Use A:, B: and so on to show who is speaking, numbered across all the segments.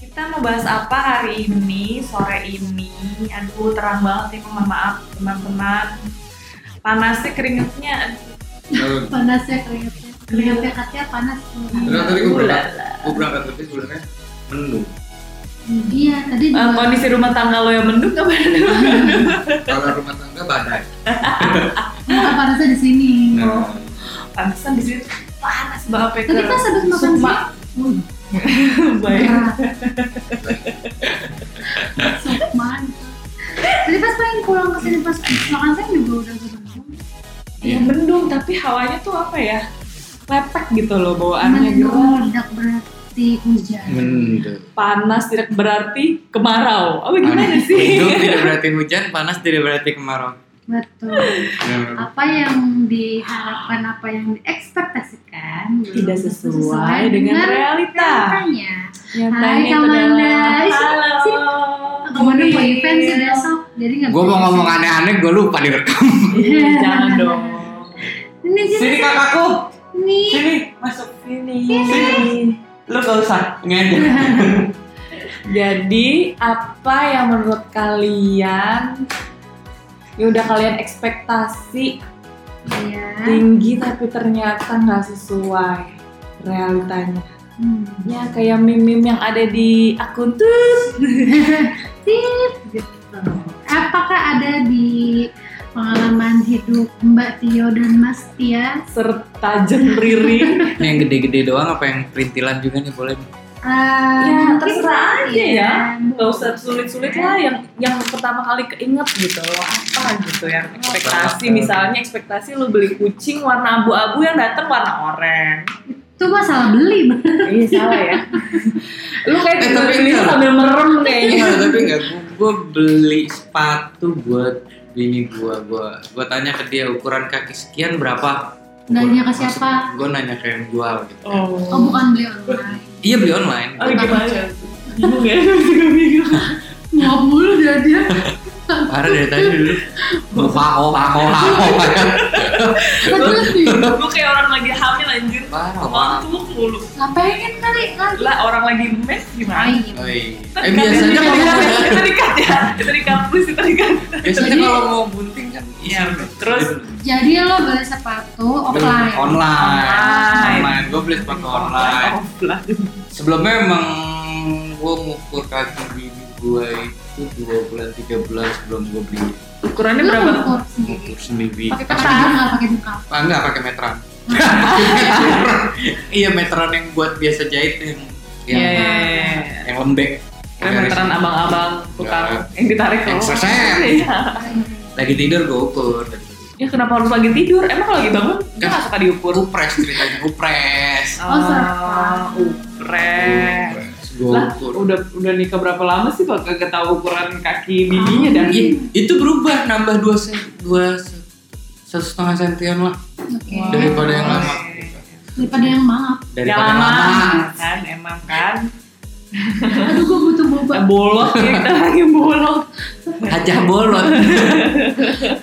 A: Kita mau bahas apa hari ini, sore ini? Aduh, terang banget nih, mohon maaf teman-teman. Panasnya keringetnya, aduh,
B: Lalu,
C: Nah,
D: panas ya keringetnya keringetnya katanya panas
C: Iya.
B: Terus tadi gue berangkat,
A: ulala.
B: gue berangkat kerja sebenarnya mendung.
D: iya tadi
A: Eh,
D: juga
A: kondisi rumah tangga lo yang mendung apa?
B: Kalau rumah tangga badai.
D: muka panasnya di sini
B: Nah,
A: Pantesan di sini tuh panas banget. Pe,
D: tapi
A: ke-
D: pas habis makan
A: Sukma. Iya.
D: siang Iya. wuih,
A: Baik.
D: berat. Sukma. Tadi pas pengen pulang ke sini pas makan siang juga udah ketemu.
A: Iya mendung, tapi hawanya tuh apa ya? Lepek gitu loh bawaannya gitu.
D: Mendadak berarti hujan.
B: mendung.
A: Panas tidak berarti kemarau. Apa gimana
C: Panas.
A: sih?
C: Mendung tidak berarti hujan, panas tidak berarti kemarau.
D: Betul.
C: Nah,
D: Apa yang diharapkan, apa yang diekspektasikan belum
A: Tidak
D: tentu
A: sesuai dengan realita.
D: realitanya.
A: Nyatanya
D: Hai, Kamanda.
A: itu adalah
D: Sip, sip.
A: Ya, Halo.
D: Gue mau
A: Budi.
D: event sih besok, jadi nggak
C: Gue
D: bisa.
C: mau ngomong aneh-aneh, gue lupa direkam.
A: Ih, Jangan dong.
D: Ini
C: Sini kakakku,
D: Nih.
C: sini masuk.
D: Iya.
C: Lu gak usah
A: Jadi apa yang menurut kalian yang udah kalian ekspektasi
D: Iya.
A: tinggi tapi ternyata nggak sesuai realitanya?
D: Hmm.
A: Ya kayak meme yang ada di akun tuh.
D: Sip, gitu. Apakah ada di pengalaman hidup Mbak Tio dan Mas Tia?
A: serta jemriri.
C: Ini yang gede-gede doang apa yang perintilan juga nih boleh nih.
D: Eh,
A: ya
D: mungkin-
A: terserah aja ya.
D: Iya.
A: Gak usah sulit-sulit lah yang yang pertama kali keinget gitu loh apa gitu yang ekspektasi misalnya ekspektasi lu beli kucing warna abu-abu yang datang warna oranye.
D: Itu masalah beli, Mbak.
A: Iya salah ya. lu kayak
C: Eh,
A: tidur
C: tapi
A: sendiri
C: enggak.
A: sambil merem kayaknya.
D: Iya.
C: Enggak, Iya, tapi enggak. Gue beli sepatu buat bini gue. Gue gue tanya ke dia ukuran kaki sekian berapa.
D: Nanya ke siapa?
C: Gue nanya ke yang jual gitu.
D: Oh, bukan beli online.
C: Iya beli online.
A: Oh, gimana? Bingung ya? Bingung.
D: Ngomong mulu dia dia.
C: Parah dari tadi dulu. Gue pao, pao, pao.
D: Terus nih,
A: Gue kayak orang lagi hamil anjir.
C: Parah, parah.
A: Waktu mulu.
D: nggak pengen kali lagi.
A: Lah orang lagi mes gimana?
D: Lain.
C: Oi. Eh
A: Terikat ya,
C: biasanya
A: terikat ya, terikat ya, terikat
C: kalau mau
A: please terikat.
C: biasanya kalau mau bunting kan
A: Iya, terus?
D: Jadi lo beli sepatu
C: online.
D: offline.
C: Online.
A: Online.
C: online. Gue beli sepatu online.
A: Offline.
C: Sebelumnya emang gue ngukur kaki bibi gue itu dua bulan tiga bulan sebelum gue beli
A: Ukurannya
D: Lo
A: berapa?
D: ngukur sendiri.
C: ngukur sendiri.
D: Pakai peta nggak pakai buka.
C: Ah enggak pakai meteran. Pakai meteran. iya meteran yang buat biasa jahit yang yang,
A: Iya, iya, iya.
C: yang lembek.
A: Kira meteran abang-abang tukang yang ditarik
C: Yang
A: keluar.
C: sesek.
A: Iya.
C: Lagi tidur gue ukur.
A: Ya kenapa harus lagi tidur? Emang kalau lagi bangun kita
C: Kan-
A: nggak suka diukur?
C: Upres ceritanya upres.
D: Oh,
A: Ah, upres. Lah,
C: Gua ukur.
A: udah udah nikah berapa lama sih kok kagak tahu ukuran kaki bibinya dan
C: I- Iya, itu berubah nambah dua sen, dua se- satu setengah sentian lah
D: Oke.
A: Wah.
C: Iya. daripada yang lama.
D: Daripada yang maaf.
A: Yang
C: Daripada
A: lama
C: lama.
A: kan emang kan
D: Aduh, gue butuh boba.
A: Eh, bolot ya kita lagi bolot.
C: Hajah bolot.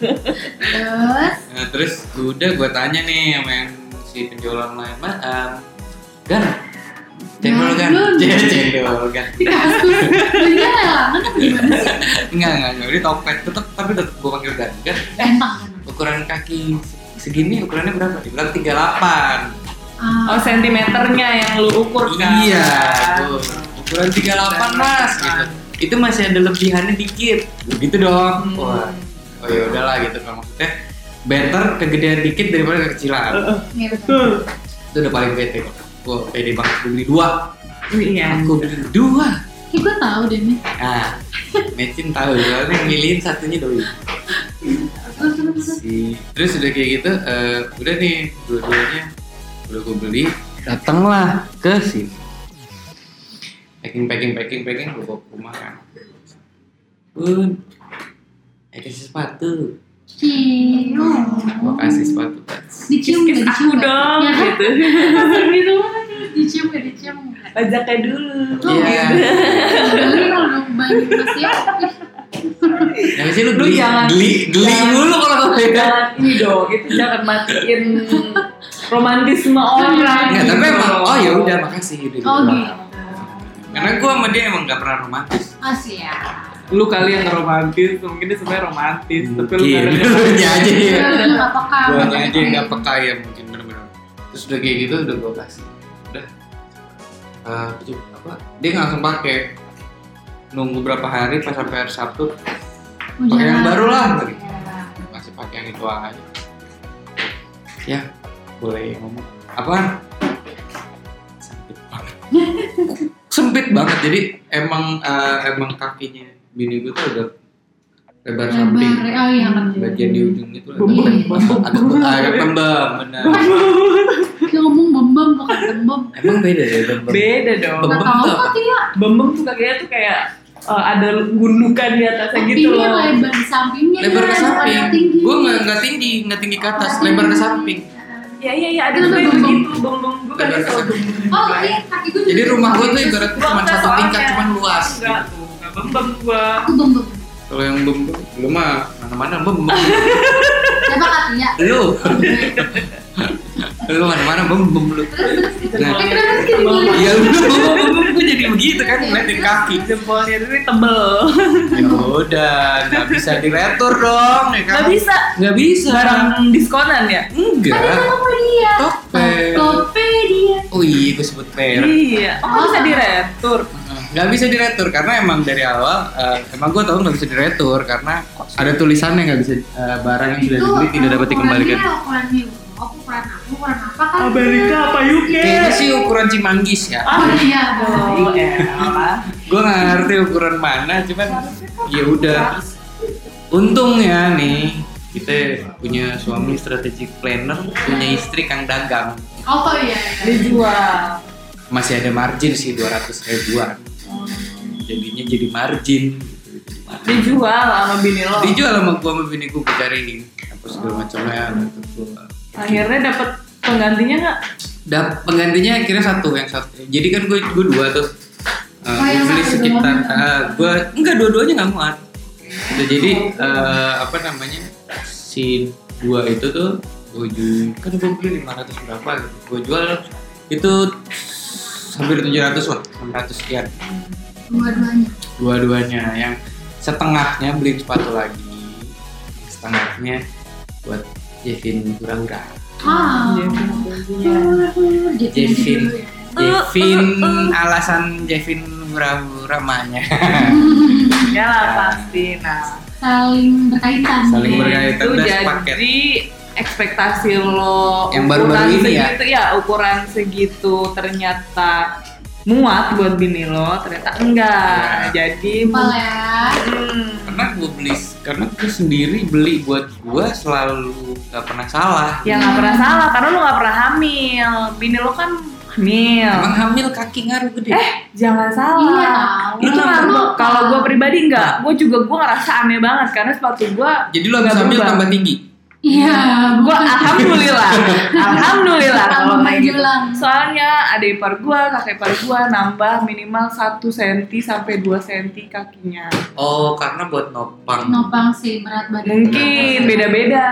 D: Terus,
C: nah, terus udah gue tanya nih sama yang si penjual online mah em, gan cendol gan
D: Gan.
C: C- cendol gan
D: di kan kaskus. Belinya lelangan apa gimana sih?
C: enggak enggak enggak ini topet tetap tapi tetap gue panggil gan gan
D: Bentang kan?
C: ukuran kaki segini ukurannya berapa dibilang 38
D: Ah,
A: Oh sentimeternya yang lu ukur kan?
C: Iya, tuh. ukuran 38 mas. Gitu. Itu masih ada lebihannya dikit. Begitu dong. Wah. Oh ya udahlah gitu kan maksudnya. Better kegedean dikit daripada kekecilan.
A: Uh,
D: iya betul.
A: Tuh.
C: Itu udah paling bete kok. Wah, pede banget gue beli dua.
A: Iya.
C: Aku beli dua.
D: Kayak gue tahu deh nih.
C: Nah, Mecin tahu soalnya milihin satunya doi.
D: Terus, terus, terus.
C: Si- Terus udah kayak gitu, eh, udah nih dua-duanya udah gue beli. Datanglah ke sini. Packing, packing, packing, packing, gue bawa ke rumah kan. Bun, eh kasih sepatu.
D: Cium.
C: Gua kasih sepatu Vans.
D: Dicium
A: Kiss-kiss
D: nggak?
A: aku
D: Dicium nggak?
A: dong
D: Ya kan?
A: gitu.
D: Masuk di rumah nih. Dicium nggak? Dicium nggak?
A: Ajaknya dulu.
D: Tuh,
C: Iya.
D: Geli kalau dong bayi Mas ya.
C: Yang sih lu
A: Lu
C: geli,
A: jangan-
C: geli, geli
A: jangan-
C: mulu kalau kau beda.
A: Jangan ini dong, itu jangan matiin romantisme orang.
C: Enggak, tapi
A: gitu.
C: emang oh ya udah makasih udah gitu
D: Oh
C: doang.
D: gitu.
C: Karena gua sama dia emang gak pernah romantis.
D: Oh siap.
A: Lu kali yang romantis, mungkin dia sebenarnya romantis, tapi lu
C: Mungkin. Lu nya aja ya.
D: Lu nggak peka.
C: Gua aja yang gak peka ya mungkin bener-bener. Terus udah kayak gitu udah gua kasih. Udah. Eh, tujuh, apa? Dia nggak langsung pakai. Nunggu berapa hari pas sampai hari Sabtu pakai yang
D: Hujanan.
C: baru lah. gitu.
D: Iya.
C: masih pakai yang itu aja ya boleh ngomong apaan sempit banget sempit banget jadi emang eh, emang kakinya bini gue tuh agak lebar samping
D: Lebar. Oh iya ngerti.
C: bagian di ujung itu Iya.
D: Bembem.
C: agak agak tembem benar
D: Dia ngomong bembem bukan bembem.
C: emang beda ya bembem
A: Beda dong.
D: Gak
C: Bembem
D: tahu
C: tuh
D: kok dia.
A: Bembeng tuh kakinya tuh kayak eh, ada gundukan di atasnya gitu
D: Sampingnya
A: loh.
D: lebar di sampingnya.
C: lebar ke
D: Lebar
C: samping
D: tinggi.
C: gue nggak nggak tinggi nggak tinggi ke atas lebar ke samping
A: Iya iya iya ada
D: Itu
A: juga yang
D: bembem.
A: begitu bembeng gue kan
C: Lebar ke
A: selalu
C: samping.
A: bembeng.
D: Oh iya kaki gue.
C: jadi
D: juga.
C: rumah gue tuh ibaratnya
A: Gua
C: cuma
A: enggak
C: satu
A: soalnya.
C: tingkat cuman luas gitu.
A: Enggak tuh, enggak bembeng gua.
D: Aku bembem.
C: Kalau yang belum belum mah mana-mana bem bem.
D: Siapa kaki
C: Iya.
D: ya?
C: lu. lu mana-mana bem bem lu.
D: Terus terus.
C: Nah.
D: Eh kenapa sih gini gini?
C: Iya lu bem bem bem gue jadi begitu kan ngeliatin kaki.
A: Jempolnya itu tebel.
C: Ya udah, nggak bisa diretur dong ya
A: Gak bisa
C: Nggak bisa.
A: barang diskonan ya?
D: Tadi
C: Enggak.
D: Tokopedia.
C: Topeng.
D: Tokopedia.
C: Oh iya, gue sebut merek.
A: Iya. Oh, nggak bisa diretur.
C: Nah, Nggak bisa diretur karena emang dari awal eh, emang gue tau nggak bisa diretur karena ada tulisannya nggak bisa eh, barang yang sudah
D: Itu, eh,
C: dibeli tidak dapat
D: ukurannya,
C: dikembalikan.
D: Ukuran Eropa, ukuran aku, ukuran apa
A: Oh,
D: kan?
A: apa UK?
C: Kayaknya sih ukuran Cimanggis ya.
D: Oh iya,
A: Oh,
D: boleh.
A: elah.
C: gue nggak ngerti ukuran mana cuman ya udah untungnya nih kita punya suami strategic planner punya istri kang dagang
D: Oh iya.
A: Dijual.
C: masih ada margin sih 200 ribuan jadinya jadi margin Jadi margin.
A: Dijual sama bini lo.
C: dijual sama gua sama bini gua gua cariin apa segala macamnya gitu. Gua-
A: Akhirnya dapet penggantinya nggak?
C: Dap, penggantinya akhirnya satu yang satu jadi kan gue gue dua tuh Eh,
D: Oh,
C: gua
D: yang
C: beli
D: satu
C: sekitar
D: doang.
C: eh, gua enggak dua-duanya nggak muat Gitu, jadi
D: Oh.
C: eh, apa namanya si dua itu tuh gue jual kan gue beli 500 berapa gitu gue jual itu hampir 700 lah 600 sekian
D: Dua-duanya.
C: dua-duanya yang setengahnya beli sepatu lagi setengahnya buat Jevin hura-hura
D: Ah.
A: Iya,
D: Jadi
C: Jevin.
D: dulu ya.
C: Jevin alasan Jevin hura-hura emaknya.
A: Ya lah pasti. Nah,
D: Saling berkaitan.
C: Saling
D: ya.
C: ber- berkaitan
A: itu
C: dan sepaket.
A: jadi ekspektasi lo
C: Yang baru-baru
A: ukuran
C: ini ya?
A: segitu, ya ukuran segitu ternyata muat buat bini lo ternyata enggak
C: Iya.
A: jadi
D: Simpel ya.
A: hmm,
C: karena gue beli karena gue sendiri beli buat gue selalu nggak pernah salah
A: ya nggak pernah salah karena lo nggak pernah hamil bini lo kan hamil Eh,
C: emang hamil kaki ngaruh gede
A: jangan salah
D: Iya tahu.
A: itu
C: Lu Nah.
A: kan
D: tahu.
A: kalau gue pribadi enggak gue juga gue ngerasa aneh banget karena sepatu gue
C: jadi lo habis
A: Nggak
C: hamil
A: berubah.
C: tambah tinggi
D: Iya.
A: gue
D: bukan.
A: alhamdulillah alhamdulillah kalau
D: Tambah
A: kayak gitu
D: menjelang.
A: soalnya ada ipar gue kakak ipar gue nambah minimal 1 cm sampai 2 cm kakinya
C: oh karena buat nopang
D: Nopang sih berat badan. Iya.
A: mungkin beda-beda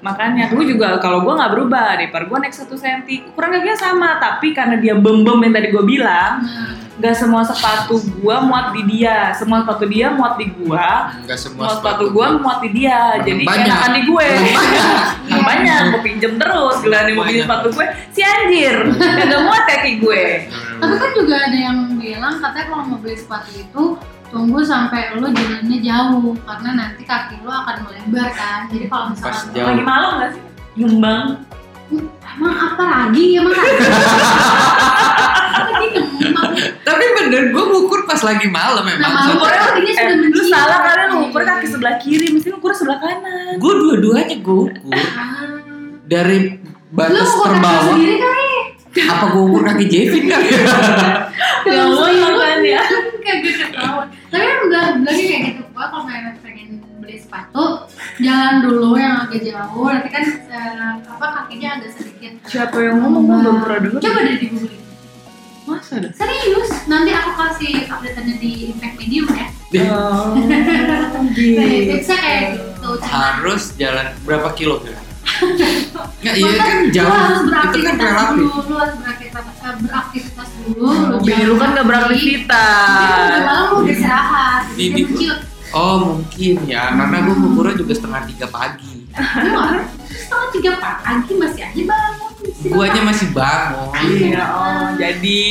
A: makanya gue juga kalau gue nggak berubah ada ipar gue naik 1 cm ukuran kakinya sama tapi karena dia bembem yang tadi gue bilang
D: Nah,
A: nggak semua sepatu gue muat di dia semua sepatu dia muat di gue
C: nggak semua
A: Mau sepatu gue muat di dia, jadi
C: Banyak.
A: enakan di gue.
D: Iya.
A: Yang banyak, gue pinjem terus. Gila nih mau pinjem
C: Banyak.
A: sepatu gue, si anjir, kagak muat kaki gue.
D: Tapi kan juga ada yang bilang katanya kalau mau beli sepatu itu tunggu sampai lo jalannya jauh karena nanti kaki lo akan melebar kan. Jadi kalau
C: Pas
D: misalkan
C: jauh
A: Lagi malam gak sih? Nyumbang.
D: emang apa lagi emang lagi. Lagi ngembang.
C: tapi bener gue ngukur pas lagi malam emang
D: Nah, malam.
A: Ukurnya
D: kakinya
A: eh,
D: sudah
A: lu
D: mencium.
A: salah karena lu ukur kaki sebelah kiri, mesti lu ukur sebelah kanan.
C: gue dua-duanya gue ukur dari
D: Lo
C: batas
D: mau kaki
C: terbawah
D: sendiri kali.
C: apa gue ukur kaki Jevin kan
A: Ya
D: Kalau
A: Allah,
D: saya
A: makanya.
D: Kagak ketahuan. Tapi yang belah belahnya kayak gitu. Gua kalau memang pengen beli sepatu, jalan dulu yang agak jauh nanti kan eh, apa kakinya agak sedikit
A: Siapa yang ngomong? Gua Oh, belum pernah dengar.
D: coba deh di googling
A: Masa dah?
D: serius nanti aku kasih update-nya di impact medium ya
C: Ih,
A: Oh,
D: nah,
A: gitu.
D: tipsnya kayak gitu cuman
C: harus jalan berapa kilo kira Nggak, iya
D: Makanya
C: kan
D: Nah, lu
C: jauh itu
D: harus
C: kan
D: beraktivitas
C: relatif
D: dulu, lu harus beraktivitas, eh, beraktivitas dulu.
A: Hobi lu kan gak
D: Udah malam
A: beraktivitas.
D: lu udah istirahat,
C: Di-
D: jadi
C: di-
D: kecil.
C: oh mungkin ya karena gue ngukurnya juga setengah tiga pagi
D: Lu ngapain? setengah tiga pagi masih aja bangun. Masih
C: guanya
D: bangun.
C: masih bangun
A: Iya, oh, jadi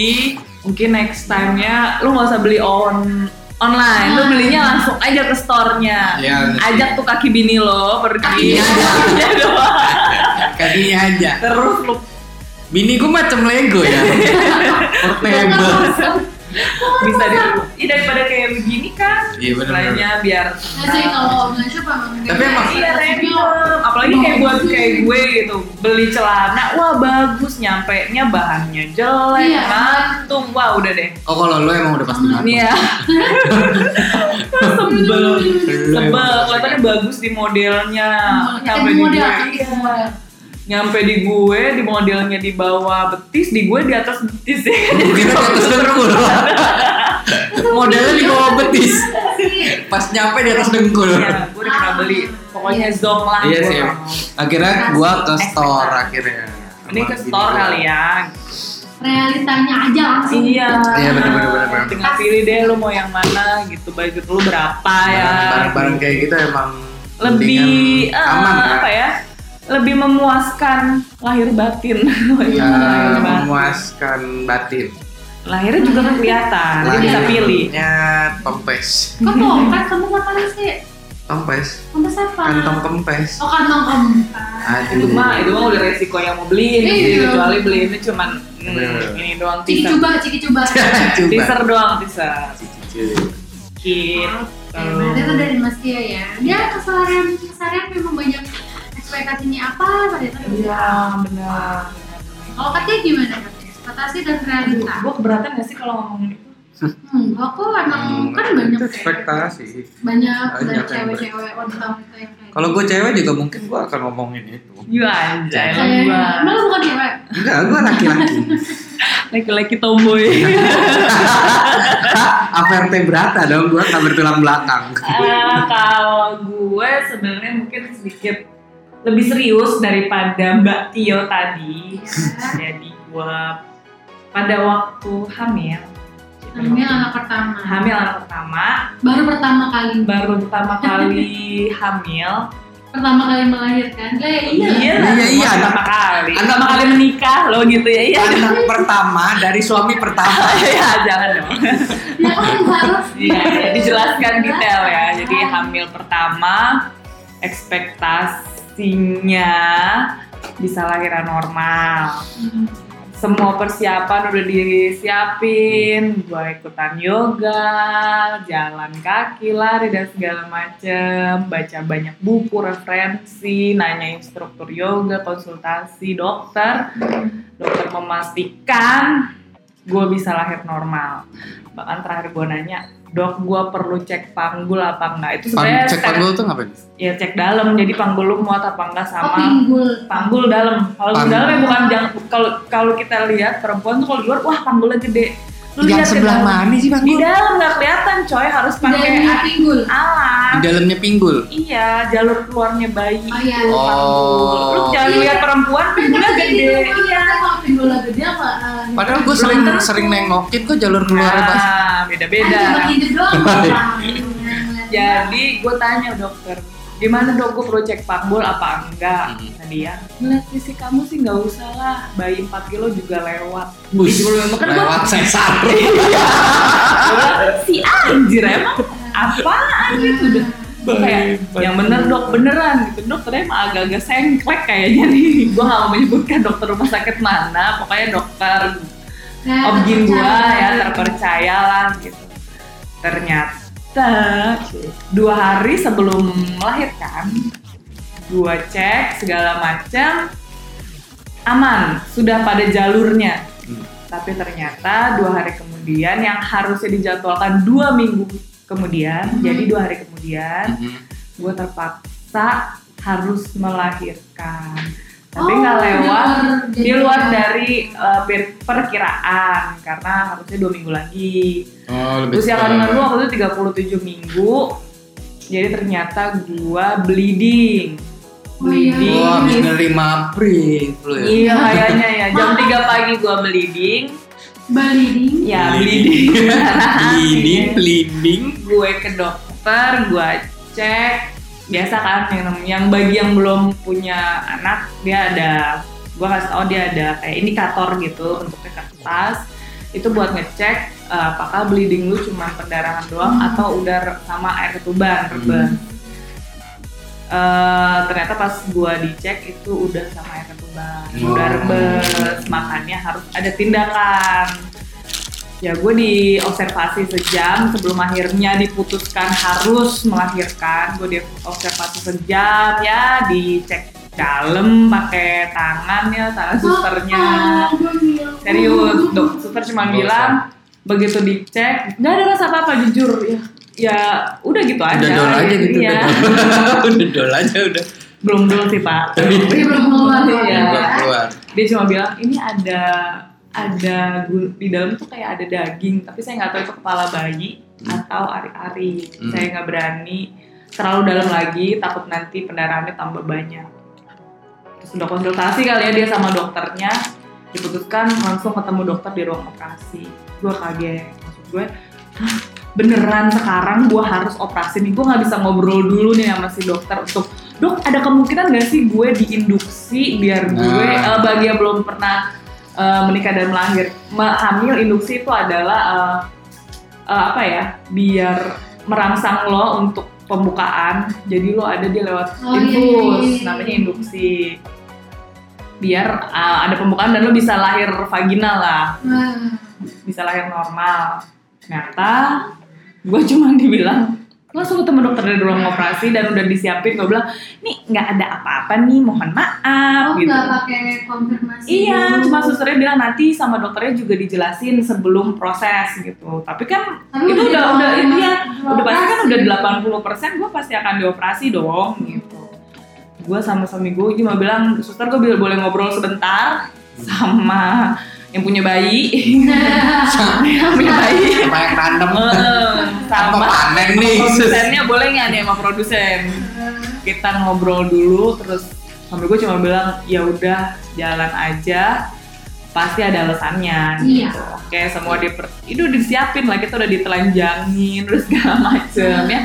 A: mungkin next time-nya lu gak usah beli on online, lu belinya
D: Ah.
A: langsung aja ke store-nya.
C: ya
A: Ajak tuh kaki bini lo pergi.
C: Iya.
A: Iya doang.
C: kakinya aja
A: Terus lu
D: Oh,
C: bini gue macam lego ya portable
A: bisa di ya, daripada kayak begini kan
C: Iya, bener-bener.
A: istilahnya biar
D: Nah, sih kalau online shop emang kayak
C: Tapi emang-
A: iya
D: gitu.
A: random apalagi kayak buat
D: Iya.
A: kayak gue gitu beli celana wah bagus nyampe nya bahannya jelek
D: Iya.
A: kantung wah udah deh
C: oh kalau lo emang udah pasti bangun
A: Iya. sebel
C: Lo emang
A: sebel
C: udah pasti
A: kelihatannya bagus di modelnya
D: Kayak
A: nyampe di
D: model,
A: gue
D: kan, kayak model.
A: nyampe di gue di modelnya di bawah betis di gue di atas betis ya
C: Kita di atas dengkul Modelnya di bawah betis Pas nyampe di atas dengkul
A: Iya, gue udah pernah beli pokoknya zong lah
C: Iya
A: gue
C: sih
A: mau.
C: emang. Akhirnya gua ke store akhirnya
A: ini ke store
C: Iya.
A: kali ya
D: Realitanya aja langsung.
A: iya
C: Iya, bener-bener, bener-bener.
A: tinggal pilih deh lu mau yang mana gitu budget lu berapa ya
C: Barang-barang kayak gitu emang
A: lebih
C: mendingan
A: eh,
C: aman
A: apa
C: kan?
A: ya lebih memuaskan lahir batin
C: Ya,
A: Lahir batin.
C: memuaskan batin.
A: lahirnya juga kan kelihatan jadi Nah, bisa pilih
C: Lahirnya Tompes.
D: Kok tongkat kamu ngapain sih?
C: Tompes.
D: Kamu apa?
C: Kantong kempes.
D: Oh kantong kempes.
C: Aduh.
A: itu mah itu mah udah resiko yang mau beliin sih
D: Iya.
A: kecuali beliinnya cuman hmm,
C: Bener.
A: ini doang
D: Ciki
A: teaser
D: coba, ciki coba.
C: Coba.
A: teaser doang teaser
C: Cici. Iya.
A: gitu
D: Oke, berarti itu dari Mas Tio ya. Dia kesalahan kesalahan memang banyak ekspektasinya apa pada itu.
A: iya benar
D: Kalau Katya gimana Katya? Ekspektasi dan realita.
A: gue Nah, keberatan gak sih kalau ngomongin itu
D: Hmm, gua kok emang
C: Hmm,
D: kan banyak cewek-
C: ekspektasi.
D: banyak
C: Banyak
D: banyak
C: yang
D: cewek-cewek wanita-wanita yang kayak. gitu.
C: Kalau gue cewek juga mungkin gue akan ngomongin itu.
A: Iya aja,
C: Jangan.
A: emang
D: cewek,
A: gua
D: malah bukan cewek.
C: Enggak, gue laki-laki.
A: laki-laki tomboy.
C: Averte berata dong, gue nggak bertulang belakang.
A: Eh, kalau gue sebenarnya mungkin sedikit lebih serius daripada Mbak Tio tadi. Jadi gue pada waktu hamil,
D: Hamil anak pertama.
A: hamil anak pertama,
D: Baru pertama kali.
A: baru pertama kali hamil.
D: Pertama kali melahirkan. Lah ya iya.
A: lah,
C: Iya, iya, anak-
A: pertama kali,
C: anak-
A: pertama kali menikah loh gitu ya. Iya,
C: Anak pertama dari suami pertama.
A: Iya, jangan dong.
D: Ya kan Iya. harus.
A: Iya, ya, dijelaskan detail ya. Jadi
D: Oh,
A: hamil pertama ekspektasinya bisa lahiran normal.
D: Hmm.
A: Semua persiapan udah disiapin, gua ikutan yoga, jalan kaki, lari dan segala macem, baca banyak buku, referensi, nanya instruktur yoga, konsultasi dokter, dokter memastikan gue bisa lahir normal. Bahkan terakhir gue nanya, dok gue perlu cek panggul apa enggak? Itu sebenarnya
C: Pan- cek
A: step-
C: panggul tuh ngapain?
A: ya cek dalam, jadi panggul lu muat apa enggak
D: Oh,
A: sama
D: pinggul.
A: panggul dalam. Kalau
C: Panggul.
A: dalam ya bukan jangan kalau kalau kita lihat perempuan tuh kalau di luar wah panggulnya gede. Lu
C: Yang
A: lihat ke
C: sebelah
A: dalam.
C: mana sih
A: Di
C: panggul?
A: dalam nggak kelihatan coy harus pakai
D: Dalamnya pinggul.
C: Di
A: alat.
C: dalamnya pinggul.
A: Iya, jalur keluarnya bayi.
D: Oh, iya.
A: itu
C: Oh.
A: panggul. Lu jangan
D: Iya.
A: lihat perempuan pinggulnya gede. Iya.
D: Kalau pinggulnya gede apa? eh,
C: Padahal gue
A: Belum
C: sering
A: tentu.
C: sering nengokin kok jalur keluarnya pas.
A: Nah, beda-beda.
D: Kan cuma hidup doang. Iya. Bang.
A: Jadi gue tanya dokter, gimana dok gue perlu cek panggul apa enggak?
C: Hmm.
A: Nah dia, ngeliat fisik kamu sih nggak usah lah, bayi 4 kilo juga lewat.
C: Bus.
A: Kan gua-
C: Lewat sesar.
A: Iya. si anjir emang apaan gitu udah Gua kayak yang bener dok beneran gitu dokternya emang agak-agak sengklek kayaknya nih gue gak mau menyebutkan dokter rumah sakit mana pokoknya dokter
D: Nah,
A: om Jin gua
D: terpercaya.
A: ya terpercaya lah gitu ternyata dua hari sebelum melahirkan gua cek segala macam aman sudah pada jalurnya
C: Hmm.
A: tapi ternyata dua hari kemudian yang harusnya dijadwalkan dua minggu kemudian
D: Hmm.
A: jadi dua hari kemudian
C: Mhm.
A: gue terpaksa paksa harus melahirkan tapi
D: Oh,
A: nggak
D: di
A: lewat
D: luar
A: di luar
D: jadinya.
A: dari eh, per- perkiraan karena harusnya dua minggu lagi
C: Oh, lebih
A: usia
C: cepat.
A: kandungan gua waktu itu 37 minggu jadi ternyata gua bleeding
D: Oh, iya.
A: bleeding
C: Wah, habis
A: di
C: nerima April lu ya.
A: Iya kayaknya ya. Jam 3 pagi gua bleeding.
D: Bleeding.
A: Ya
C: Bleeding.
A: bleeding.
C: Bleeding,
A: Bleeding.
C: bleeding.
A: Gue ke dokter, gua cek. Biasa kan yang namanya- yang bagi yang belum punya anak dia ada gua kasih tau dia ada kayak indikator gitu bentuknya kertas itu buat ngecek eh, apakah bleeding lu cuma pendarahan doang
D: Hmm.
A: atau udah sama air ketuban
C: Hmm.
A: reban. Eh, ternyata pas gua dicek itu udah sama air ketuban
C: Hmm.
A: udah rebes makanya harus ada tindakan ya gue diobservasi sejam sebelum akhirnya diputuskan harus melahirkan gue diobservasi sejam ya dicek dalam pakai tangan ya tangan susternya serius dok suster cuma
C: Nggak
A: bilang begitu dicek nggak ada rasa apa apa jujur ya ya udah gitu aja
C: Udah dol aja gitu.
A: Iya.
C: udah dol. Udah dol aja udah.
A: belum dol sih pak
D: Tapi belum keluar ya.
A: Iya.
C: Keluar, keluar.
A: dia cuma bilang ini ada ada gu- di dalam tuh kayak ada daging tapi saya nggak tahu itu kepala bayi
C: Hmm.
A: atau ari-ari
C: Hmm.
A: saya nggak berani terlalu dalam lagi takut nanti pendarahannya tambah banyak terus udah konsultasi kali ya dia sama dokternya diputuskan langsung ketemu dokter di ruang operasi gue kaget maksud gue "Hah, beneran sekarang gue harus operasi nih gue nggak bisa ngobrol dulu nih sama si dokter untuk dok ada kemungkinan nggak sih gue diinduksi biar gue
C: Nah.
A: eh, bagi yang belum pernah eh, menikah dan melahir Me- hamil induksi itu adalah eh, eh, apa ya biar merangsang lo untuk pembukaan jadi lo ada di lewat
D: Oh, iya,
A: infus
D: iya, iya.
A: namanya induksi biar eh, ada pembukaan dan lo bisa lahir vaginal lah
D: Nah,
A: bisa lahir normal. Ternyata gue cuma dibilang langsung ketemu dokter dari ruang operasi dan udah disiapin gue bilang nih nggak ada apa-apa nih mohon maaf
D: oh
A: gitu.
D: nggak pakai konfirmasi.
A: Iya,
D: dulu.
A: cuma susternya bilang nanti sama dokternya juga dijelasin sebelum proses gitu. Tapi kan
D: Tapi
A: itu
D: udah
A: udah udah
D: dioperasi.
A: iya, udah pasti kan udah
D: Dioperasi.
A: 80% gue pasti akan dioperasi dong gitu. Gue sama suami gue cuma bilang suster gue boleh ngobrol sebentar sama yang punya bayi,
D: Nah,
A: yang punya bayi.
C: Apa yang random?
A: Hmm,
C: Apa
A: sama
C: panen nih?
A: produsennya boleh nggak nih sama produsen kita ngobrol dulu terus sambil gue cuma bilang ya udah jalan aja pasti ada alasannya
D: Iya.
A: gitu. oke semua diper itu udah disiapin lah kita udah ditelanjangin terus segala macem ya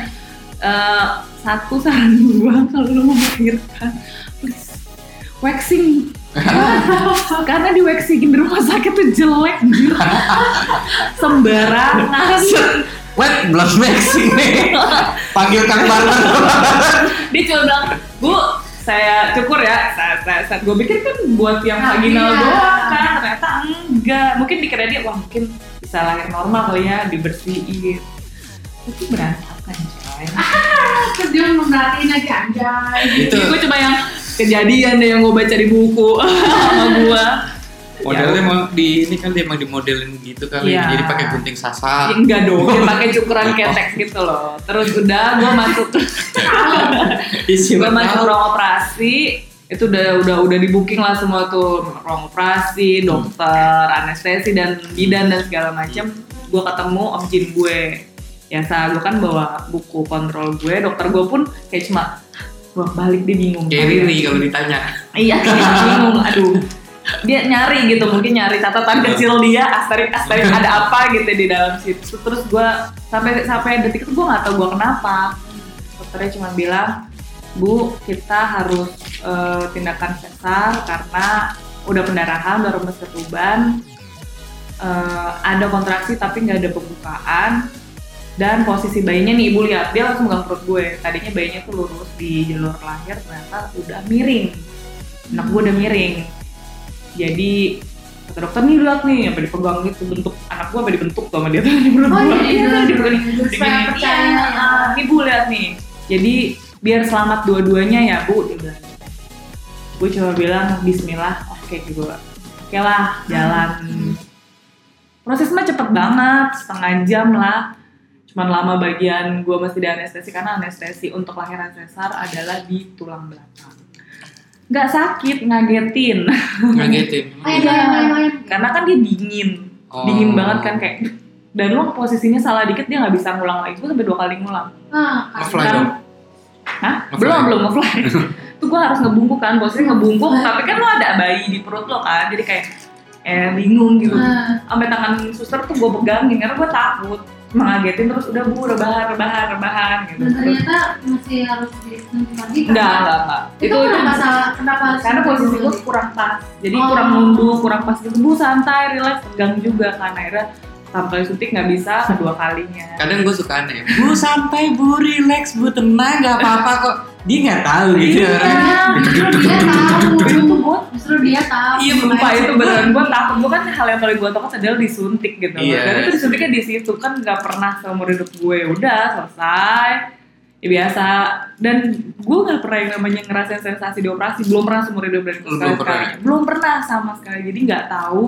A: Eh, satu saran gue kalau lo mau melahirkan please waxing karena di waxingin di rumah sakit tuh jelek anjir. sembarangan
C: Wait, belum waxing nih. Panggil Kang Barman.
A: dia cuma bilang bu saya cukur ya saat, saat, gue pikir kan buat yang
D: Ah,
A: vaginal
D: iya.
A: doang kan ternyata enggak mungkin dikira dia wah mungkin bisa lahir normal kali ya dibersihin itu berantakan coy
D: terus dia memperhatiin lagi anjay.
C: Itu
A: gue cuma yang kejadian deh yang gue baca di buku sama gue
C: modelnya emang di ini kali emang dimodelin gitu kali.
A: Iya.
C: Jadi pakai gunting sasar.
A: Ya, enggak dong, dia pakai cukuran ketek gitu loh. Terus udah gue masuk
C: Isi
A: gue masuk
C: bakal.
A: ruang operasi itu udah udah udah di booking lah semua tuh ruang
C: Hmm.
A: operasi dokter anestesi dan bidan dan segala macam gue ketemu om jin gue biasa gue kan bawa buku kontrol gue dokter gue pun kayak cuma gue balik dia bingung
C: Kayak Riri kalau ditanya.
A: iya kayak bingung aduh dia nyari gitu mungkin nyari catatan kecil dia asterik asterik ada apa gitu di dalam situ terus gue sampai sampai detik itu gue nggak tahu gue kenapa dokternya cuma bilang bu kita harus eh, tindakan sesar karena udah pendarahan udah rumus ketuban eh, ada kontraksi tapi nggak ada pembukaan dan posisi bayinya nih ibu lihat dia langsung megang perut gue tadinya bayinya tuh lurus di jalur lahir ternyata udah miring anak gue udah miring jadi kata dokter nih lihat nih apa dipegang gitu bentuk anak gue apa dibentuk tuh sama dia tuh di perut
D: Oh
A: gue.
D: iya, iya,
A: Iya, dipegang
D: supaya
A: Diginiin,
D: percaya.
A: iya, ah, Nih Bu lihat nih. Jadi biar selamat dua-duanya ya Bu. Dia bilang. Gue cuma bilang Bismillah. Oke gitu. Oke
D: Hmm.
A: lah jalan. Proses mah cepet banget setengah jam lah. Cuman lama bagian gue masih di anestesi karena anestesi untuk lahiran sesar adalah di tulang belakang. Nggak sakit, ngagetin.
C: ngagetin
D: Ayo main main main.
A: karena Iya. kan dia dingin.
C: Oh.
A: Dingin banget kan kayak dan lo posisinya salah dikit dia nggak bisa ngulang lagi. Gue sampai dua kali ngulang.
D: Ah,
C: Offline
A: Kan-
C: dong.
A: Hah?
C: Nge-fly.
A: Belum, belum nge-fly. Itu gue harus ngebungkuk kan, posisinya ngebungkuk.
D: Nge-fly.
A: Tapi kan lo ada bayi di perut lo kan, jadi kayak eh bingung gitu.
D: Ah,
A: Sampai tangan suster tuh gue pegangin karena gue takut mengagetin terus udah bu rebahan rebahan rebahan gitu.
D: dan ternyata masih harus disuntik lagi. kan?
A: Enggak, enggak, enggak.
D: Itu, kenapa salah? Kenapa? harus
A: karena posisi
D: disuntik
A: gue
D: dulu?
A: kurang pas jadi
D: Oh.
A: kurang nunduk kurang pas gitu bu santai relax pegang juga kan akhirnya pertama kali suntik nggak bisa kedua kalinya
C: kadang gue suka aneh bu santai bu relax bu tenang gak apa-apa kok dia nggak tahu gitu
A: Iya.
C: orang.
D: Iya, justru dia tahu. Justru dia tahu.
A: Iya sumpah itu beneran gue takut gue kan hal yang paling gue takut adalah disuntik gitu
C: Iya.
A: Dan itu disuntiknya di situ kan nggak pernah seumur hidup gue udah selesai ya biasa dan gue nggak pernah yang namanya ngerasain sensasi di operasi belum pernah seumur hidup dan
C: Belum
A: sekali
C: pernah.
A: sekali belum pernah sama sekali jadi nggak tahu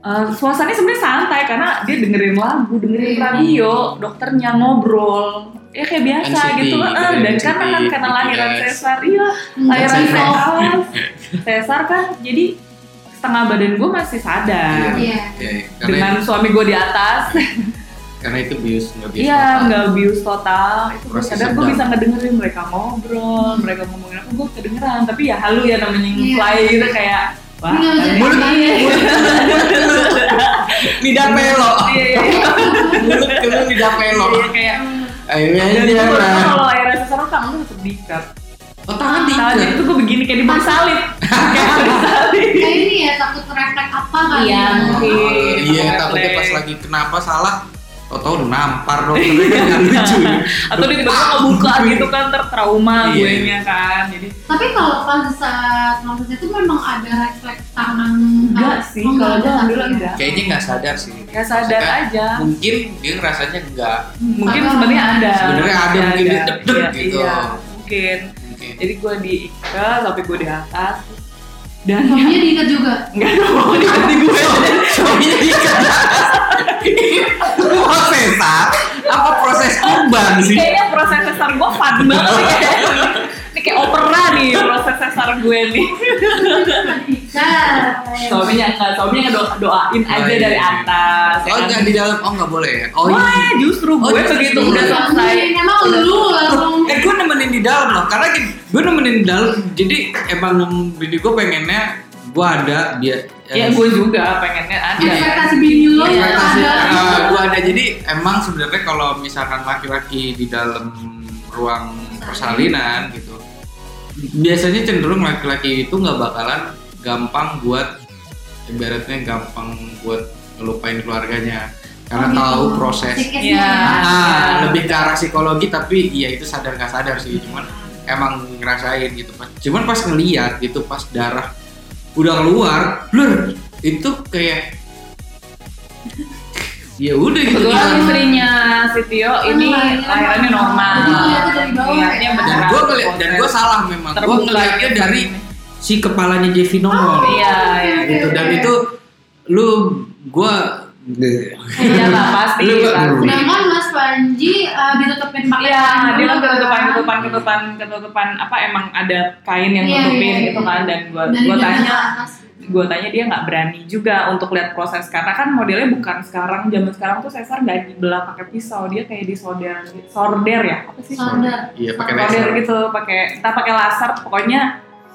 A: Eh, suasananya sebenarnya santai karena dia dengerin lagu dengerin
D: Iya.
A: radio dokternya ngobrol ya kayak biasa
C: NCT,
A: gitu eh,
C: dengerin
A: dan karena kan
C: NCT,
A: karena lahiran
C: BTS.
A: sesar iya lahiran
C: Sesar.
A: sesar sesar kan jadi setengah badan gue masih sadar
D: Iya.
C: Ya, karena,
A: dengan suami gue di atas
C: karena itu bius nggak bius
A: iya
C: total.
A: nggak bius total itu gue
C: Proses
A: sadar gue
C: sedang.
A: bisa ngedengerin mereka ngobrol mereka ngomongin apa gue kedengeran tapi ya halu ya namanya
D: Iya.
A: fly gitu kayak wah
D: Ini nggak
A: iya.
D: bisa
A: mulut
D: dibayangin.
C: lidah pelok
A: iya iya iya.
C: mulut keluar lidah pelok
A: Iya, kayak Iya,
C: akhirnya
A: dan itu
C: dia
A: gue
C: lah
A: kalau lahiran sesar tangan gue tetep diikat
C: oh tangan
A: tangan jadi
C: tiga
A: tuh gue begini kayak diberi salib kayak diberi salib
D: Kayak ini ya takut refleks apa kan?
A: Iya, mungkin.
C: Oh, iya
A: Refleks.
C: takutnya pas lagi kenapa salah tau-tau nampar dong kan lucu
A: atau di kedua ngebuka gitu kan ter trauma
C: Iya.
A: gue nya kan jadi
D: Tapi kalau pas saat proses itu memang ada refleks tangan.
A: Enggak sih,
D: Oh,
A: kalau gue
D: ada
A: alhamdulillah
D: sakit.
A: enggak.
C: kayaknya nggak sadar sih
A: Nggak Ya, sadar
C: Maksudnya,
A: aja.
C: mungkin dia ngerasanya nggak
A: Mungkin
D: Atau-
A: sebenarnya ada.
C: Sebenarnya ada, mungkin dia deg-deg
A: Iya,
C: gitu.
A: Iya, mungkin.
C: mungkin
A: Jadi gue diikat sampai gue di atas. Dan
D: Suaminya diikat juga.
A: enggak ada mau diganti gue. Iya,
C: suaminya diikat proses ah? Iya. apa proses kurban
A: Ini
C: sih
A: Kayaknya proses sesar gue fun banget nih kayaknya. Ini kayak opera nih proses sesar gue nih. Iya.
D: Diikat.
A: Suaminya enggak, suaminya ngedo- doain aja
C: Doain.
A: dari atas. ya
C: iya, oh
A: kan?
C: nggak di dalam oh nggak boleh ya oh iya
A: Wah, justru
C: Oh,
A: gue
C: justru
A: begitu
C: justru. Iya.
A: udah selesai.
D: Iya, Emang lu langsung.
C: Eh gue nemenin di dalam loh, karena gini, gue nemenin di dalam, jadi emang bini gue pengennya gue ada eh, dia.
A: Ya gue juga pengennya ada.
D: Ekspektasi bini
A: Oh,
D: lo
C: Iya,
D: yang
C: ekspektasi, eh,
D: ada.
C: gua ada jadi emang sebenarnya kalau misalkan laki-laki di dalam ruang persalinan gitu biasanya cenderung laki-laki itu nggak bakalan gampang buat ibaratnya gampang buat ngelupain keluarganya karena
D: Oh, gitu.
C: tahu proses
D: Sikisnya.
C: Ah,
A: Iya.
C: lebih ke arah psikologi tapi ya itu sadar nggak sadar sih cuman emang ngerasain gitu pas cuman pas ngeliat gitu pas darah udah keluar blur itu kayak ya udah gitu
A: Kebetulan
C: hilang.
A: istrinya si Tio ini
D: Iya. Oh, iya.
A: lahirannya normal.
D: Jadi kelihatan dari bawah
A: Lihatnya
D: ya.
C: dan
A: beneran
C: gue ngeliat dan gue
A: proses
C: salah memang gue
A: terbuka
C: ngeliatnya
A: gitu.
C: dari si kepalanya Jeffy Nomor
A: Iya, iya.
C: gitu dan itu lu gue
A: Iya lah pasti.
C: Lu nggak
A: pasti.
C: ngerti.
D: Sedangkan Mas Panji eh, ditutupin pakai
A: Iya,
D: kain
A: dia kan
D: dulu,
A: ketutupan,
D: kan?
A: ketutupan, ketutupan, ketutupan apa emang ada kain yang
D: Iya,
A: nutupin
D: iya, iya.
A: gitu kan dan gue
D: Dari
A: gue
D: bawah
A: tanya
D: ke atas.
A: gue tanya dia nggak berani juga untuk lihat proses karena kan modelnya bukan sekarang zaman sekarang tuh sesar nggak dibelah pakai pisau dia kayak disorder sorder ya apa sih
D: Solder.
C: iya pakai
D: Pakai
A: Powder
C: laser
A: gitu pakai entah pakai laser pokoknya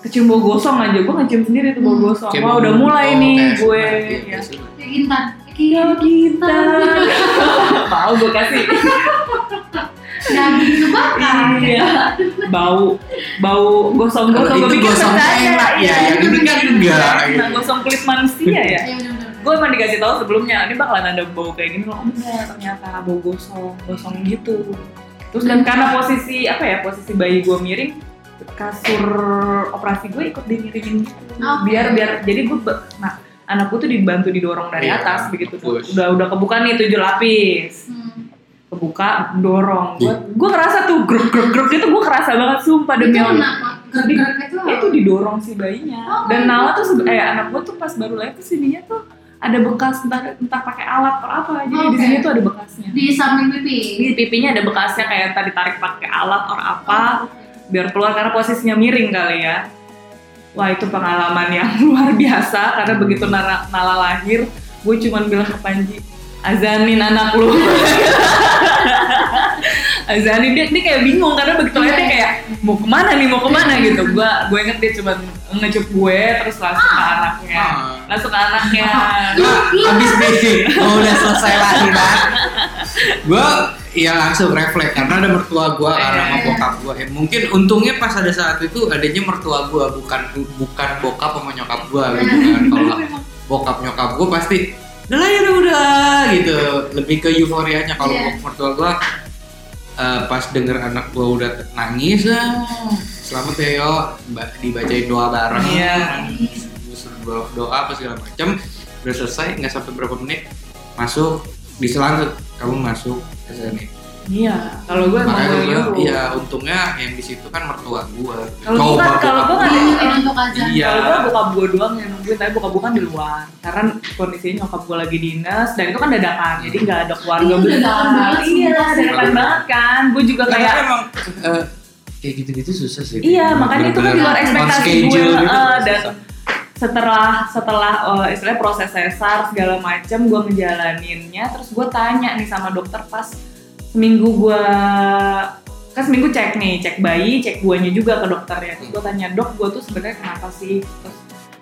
A: kecium bau gosong aja gue ngecium sendiri tuh bau
D: Hmm.
A: gosong
C: Kayak
A: wah
C: mau-
A: udah mulai
C: oh,
A: nih
C: kayak
A: gue
C: sunat, iya,
A: ya
C: kayak sunat.
D: Kayak gintan.
A: Tinggal
D: Kayak
A: kita mau gue kasih
D: daging kebakar.
A: iya bau bau gosong
C: Kalau
A: gosong
C: itu
A: gue pikir
C: gosong
A: percaya
C: enak ya, yang ini kan enggak,
A: nah,
C: gitu.
A: gosong kulit manusia ya
D: Ya, bener-bener.
A: gue emang dikasih tahu sebelumnya ini bakalan ada bau kayak gini loh oh enggak ternyata bau gosong gosong gitu terus dan karena posisi apa ya posisi bayi gue miring kasur operasi gue ikut dimiringin gitu
D: Oke.
A: biar biar jadi gue be- nah anakku tuh dibantu didorong dari
C: Iya,
A: atas begitu tuh
C: push.
A: udah udah kebuka nih tujuh lapis
D: Hmm.
A: kebuka dorong gue gue ngerasa tuh gruk gruk gruk itu gue kerasa banget sumpah demi
D: Itu
A: Allah
D: kenapa? Gerak-gerak kan itu.
A: itu didorong si bayinya
D: Oh,
A: dan
D: my
A: Nala tuh sebe- eh anak gue tuh pas baru lahir tuh sininya tuh ada bekas entah entah pakai alat atau apa jadi di
D: Oke.
A: sini tuh ada bekasnya
D: di samping pipi
A: di pipinya ada bekasnya kayak tadi tarik pakai alat atau apa
D: Oh.
A: biar keluar karena posisinya miring kali ya wah itu pengalaman yang luar biasa karena begitu Nara, Nala lahir gue cuman bilang ke Panji azanin anak lu azanin dia, dia kayak bingung karena begitu
C: Iya.
A: aja dia kayak mau kemana nih mau kemana gitu gue gue inget dia cuman ngecup gue terus langsung ke anaknya
C: Ah.
A: langsung ke anaknya
D: Iya,
C: Abis nih, oh, udah selesai lahiran. gue ya langsung refleks karena ada mertua gue karena sama bokap gue. Eh, mungkin untungnya pas ada saat itu adanya mertua gue bukan bukan bokap sama nyokap gue gitu kan. Kalau bokap nyokap gue pasti udah lah ya udah, udah," gitu. Lebih ke euforianya kalau
D: Iya.
C: mertua gue pas denger anak gue udah nangis, "Ah, selamat ya yo, Mbak, dibacain doa bareng.
A: Iya.
C: Terus doa, doa apa segala macam udah selesai nggak sampai berapa menit masuk diselang kamu masuk ke sini
A: iya kalau gue emang
C: makanya
A: gue
C: gue bilang,
A: nyuruh
C: iya untungnya yang di situ kan mertua gue
A: Kalau bukan, kalau gue nggak ada-
D: Ini iya, untuk aja
C: Iya.
A: Kalau gue bokap gue doang yang nungguin, tapi bokap gue kan di luar. Karena kondisinya nyokap gue lagi dinas, dan itu kan dadakan, jadi nggak ada keluarga
D: Iya,
A: besar.
D: dadakan banget,
A: Iya,
D: sumpah.
A: dadakan banget kan. Gue juga
C: kayak
A: kayak,
C: emang eh, kayak gitu-gitu susah sih
A: iya makanya itu kan di luar
C: Bener-bener
A: ekspektasi
C: on
A: gue.
C: schedule gitu,
A: eh, dan
C: susah.
A: setelah setelah eh, istilahnya proses sesar segala macem gue ngejalaninnya terus gue tanya nih sama dokter pas seminggu gue kan seminggu cek nih cek bayi cek guanya juga ke dokternya terus gue tanya dok gue tuh sebenarnya kenapa sih terus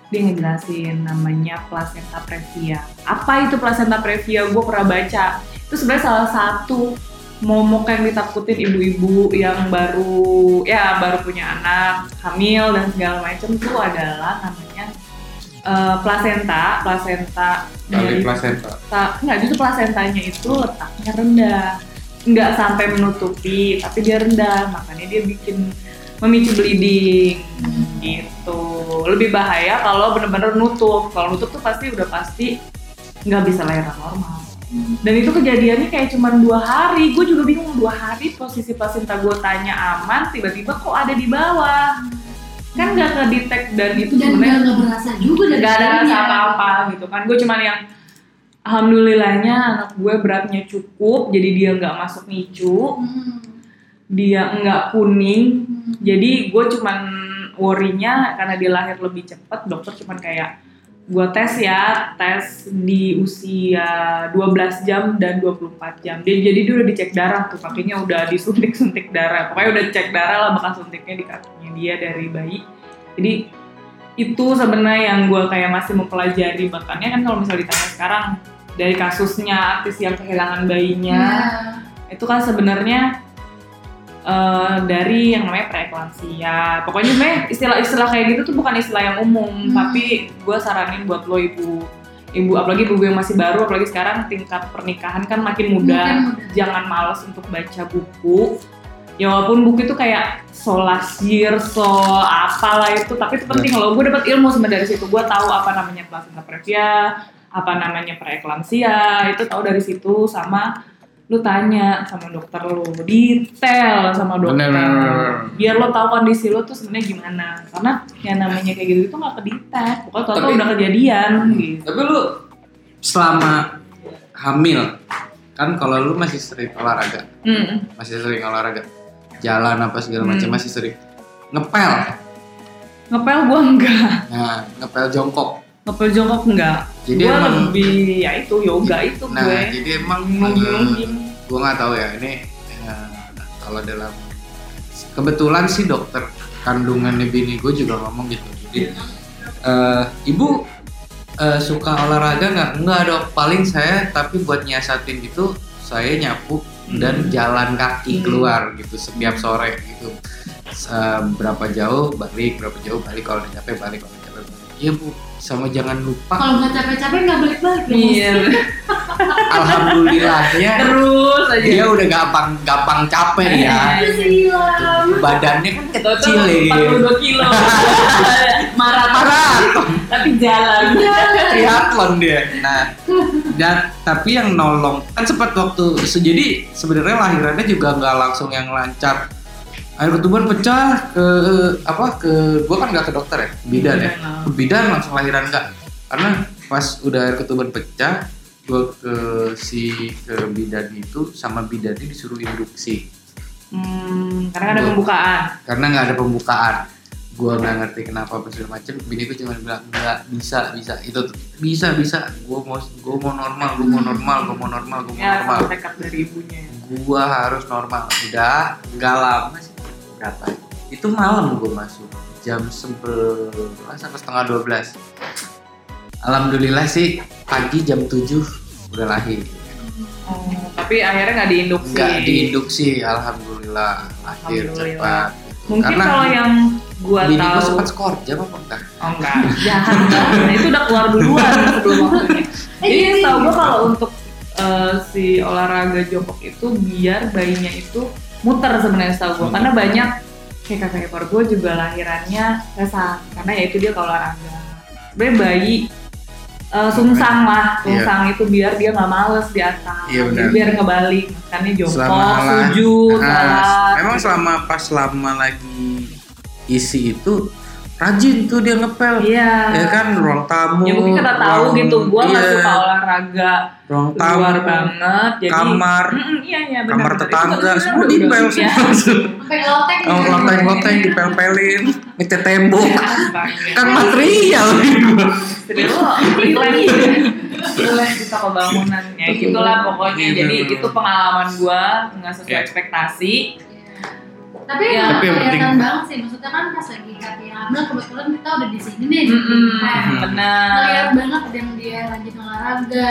A: dia ngejelasin namanya placenta previa apa itu placenta previa gue pernah baca itu sebenarnya salah satu momok yang ditakutin ibu-ibu yang baru ya baru punya anak hamil dan segala macam tuh adalah namanya eh, placenta placenta
C: Kali
A: dari
C: placenta
A: ta- nggak justru placentanya itu letaknya rendah nggak sampai menutupi tapi dia rendah makanya dia bikin memicu bleeding gitu lebih bahaya kalau bener-bener nutup kalau nutup tuh pasti udah pasti nggak bisa lahiran normal dan itu kejadiannya kayak cuma dua hari gue juga bingung dua hari posisi placenta gue tanya aman tiba-tiba kok ada di bawah kan nggak kedetek dan itu
D: dan
A: sebenarnya
D: gak nggak berasa juga dari
A: gak ada rasa
D: dalamnya.
A: apa-apa gitu kan gue cuman yang alhamdulillahnya anak gue beratnya cukup jadi dia nggak masuk nicu
D: Hmm.
A: dia nggak kuning
D: Hmm.
A: jadi gue cuman worry-nya karena dia lahir lebih cepat dokter cuman kayak gue tes ya tes di usia 12 jam dan 24 jam dia jadi dia udah dicek darah tuh kakinya udah disuntik suntik darah pokoknya udah cek darah lah bekas suntiknya di kakinya dia dari bayi jadi itu sebenarnya yang gue kayak masih mempelajari makanya kan kalau misalnya ditanya sekarang dari kasusnya artis yang kehilangan bayinya
D: iya,
A: itu kan sebenarnya eh, dari yang namanya preeklampsia. Pokoknya sebenarnya istilah-istilah kayak gitu tuh bukan istilah yang umum,
D: Hmm.
A: tapi gue saranin buat lo ibu ibu apalagi ibu gue yang masih baru apalagi sekarang tingkat pernikahan kan makin muda
D: Makin muda.
A: jangan males untuk baca buku ya walaupun buku itu kayak solasir so apalah itu tapi itu penting
C: Nah.
A: loh gue dapat ilmu sebenarnya dari situ gue tahu apa namanya placenta previa apa namanya preeklamsia itu tahu dari situ sama lu tanya sama dokter lu detail sama dokter
C: Bener, bener, bener.
A: biar lo tahu kondisi lo tuh sebenarnya gimana karena yang namanya kayak gitu itu nggak kedetail pokoknya tau
C: Tapi-
A: udah kejadian gitu
C: tapi lu selama hamil kan kalau lu masih sering olahraga
A: Mm.
C: masih sering olahraga jalan apa segala macam
A: Hmm.
C: masih sering ngepel
A: ngepel gue enggak
C: nah ngepel jongkok
A: ngepel jongkok enggak
C: Jadi
A: gue
C: emang-
A: lebih ya itu yoga itu
C: nah
A: gue
C: jadi emang
A: nungging-nungging
C: gue nggak tahu ya ini eh, kalau dalam kebetulan sih dokter kandungannya bini gue juga ngomong gitu jadi eh, ibu eh, suka olahraga nggak nggak dok paling saya tapi buat nyiasatin gitu saya nyapu dan
A: Hmm.
C: jalan kaki
A: Hmm.
C: keluar gitu setiap sore gitu Eh, berapa jauh balik berapa jauh balik kalau udah capek balik kalau udah capek balik iya bu sama jangan lupa
D: kalau nggak capek-capek nggak balik-balik ya. dong.
A: iya
C: alhamdulillahnya
A: terus aja
C: dia udah gampang gampang capek ya
D: Itu sih lah.
C: badannya kan kecil
A: Total
C: ya
A: 42 kilo marah
C: maraton
A: tapi jalan Iya.
C: triathlon dia nah dan tapi yang nolong kan sempat waktu se- jadi sebenarnya lahirannya juga nggak langsung yang lancar air ketuban pecah ke apa ke gua kan nggak ke dokter ya ke bidan ya ke bidan langsung lahiran nggak karena pas udah air ketuban pecah gue ke si ke bidan itu sama bidannya disuruh induksi
A: Hmm, karena ada
C: Betul.
A: pembukaan.
C: karena nggak ada pembukaan gue nggak ngerti kenapa apa segala macem bini gue cuma bilang nggak bisa bisa itu tuh, bisa bisa gue mau gue mau normal gue mau normal gue mau normal gue mau
A: Ya,
C: normal
A: sama tekad dari ibunya.
C: gua harus normal udah nggak lama sih berapa ya? itu malam gua masuk jam 11 sampai setengah 12 alhamdulillah sih pagi jam 7 udah lahir
A: Oh, tapi akhirnya nggak diinduksi.
C: nggak diinduksi alhamdulillah lahir
A: Alhamdulillah.
C: cepat gitu.
A: Mungkin kalau yang gua
C: bini
A: tahu,
C: gua sempat skorja apa enggak
A: oh enggak, jahat banget. Nah, itu udah keluar duluan sebelum waktunya.
D: Eh,
A: Jadi
D: jadi-
A: setahu gua kalau untuk eh, si olahraga jongkok itu biar bayinya itu muter sebenarnya setahu gua, karena banyak kayak kakak ipar gua juga lahirannya sesat karena ya itu dia kalau olahraga. Sebenarnya bayi eh, sungsang lah, sungsang itu biar dia nggak males di atas,
C: Iya, benar.
A: biar ngebalik, makanya jongkok,
C: Selama lah-
A: sujud,
C: Nah,
A: lalat. gitu.
C: memang selama pas lama lagi isi itu rajin tuh dia ngepel
A: Iya.
C: ya kan ruang tamu
A: Ya mungkin karena tahu
C: ruang-
A: gitu, gua nggak
C: iya.
A: suka olahraga
C: ruang tamu,
A: luar banget, jadi
C: kamar,
A: Mm-mm, iya iya benar.
C: kamar tetangga, semua
A: di
C: dipel
A: Ya,
C: semua.
D: sampai ngelotek
C: Sama Loteng-loteng dipel-pelin, ngecat tembok. Kan
A: Kan
C: material
A: istri lo freelance ya. freelance di toko bangunan ya gitulah pokoknya.
C: Iya,
A: Jadi
C: benar.
A: itu pengalaman gua nggak sesuai
C: Iya.
A: ekspektasi.
D: Iya. tapi
A: Ya.
D: ya,
C: Tapi yang
D: kelihatan
C: penting-
D: banget sih maksudnya kan pas lagi kaki hamil kebetulan kita udah di sini nih Nah, di
A: Mm-mm,
D: Jakarta.
A: Benar.
D: Eh, iya. ngeliat banget yang dia rajin olahraga,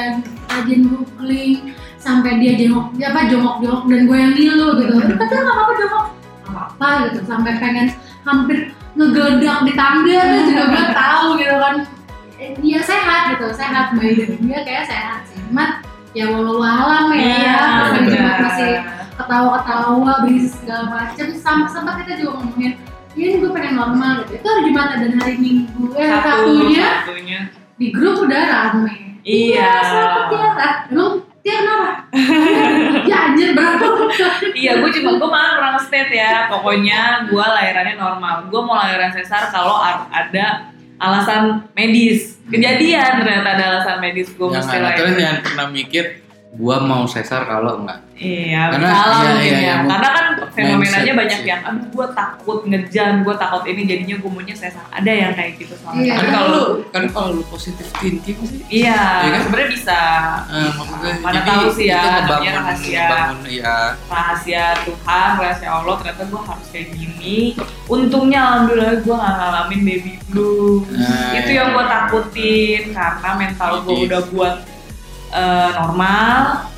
D: rajin googling, sampai dia jengok, dia apa jongok-jongok dan gue yang ngilu gitu. Tapi nggak apa-apa jongok, nggak apa-apa gitu. Sampai pengen hampir ngegedak di tangga tuh juga gue tahu gitu kan. Eh, Dia sehat gitu, sehat bayi dan dia kayak sehat sih. Cuman ya walau alam ya,
A: Iya.
D: Cuman
C: betul.
D: cuma
A: benar.
D: kasih ketawa-ketawa, berisik segala macem. Sampai sempat kita juga ngomongin, ya ini gue pengen normal gitu. Itu hari Jumat dan hari Minggu, eh
A: Satu,
D: Sabtunya
A: satunya.
D: di grup udah rame
A: Iya.
D: Kenapa Tiara emang Tiara kenapa ya anjir berapa
A: Iya, gue cuma gue malah kurang state ya. Pokoknya gue lahirannya normal. Gue mau lahiran sesar kalau ar- ada alasan medis. Kejadian ternyata ada alasan medis gue mesti
C: Jangan, kalian
A: lahiran.
C: jangan pernah mikir gua mau sesar kalau enggak.
A: Iya,
C: Karena-
A: salah
C: iya,
A: mungkin
C: iya,
A: ya.
C: iya, mungkin.
A: Karena kan fenomenanya
C: Mindset
A: banyak
C: sih.
A: yang, aduh gue takut ngejan, gue takut ini jadinya gue maunya sesar. Ada yang kayak gitu soalnya.
D: Iya.
A: Tapi
C: Kan
A: kalau
C: kalau kan kalau lu positif thinking sih.
A: Iya,
C: Iya kan?
A: sebenarnya bisa
C: Eh, maksud gue,
A: Mana
C: jadi
A: tahu sih ya,
C: kita
A: namanya
C: ngebangun,
A: rahasia.
C: ngebangun ya.
A: rahasia Tuhan, rahasia Allah. Ternyata gue harus kayak gini. Untungnya alhamdulillah gue gak ngalamin baby blues.
C: Nah,
A: itu yang gue takutin karena mental gue
C: Jadi-
A: udah buat eh, normal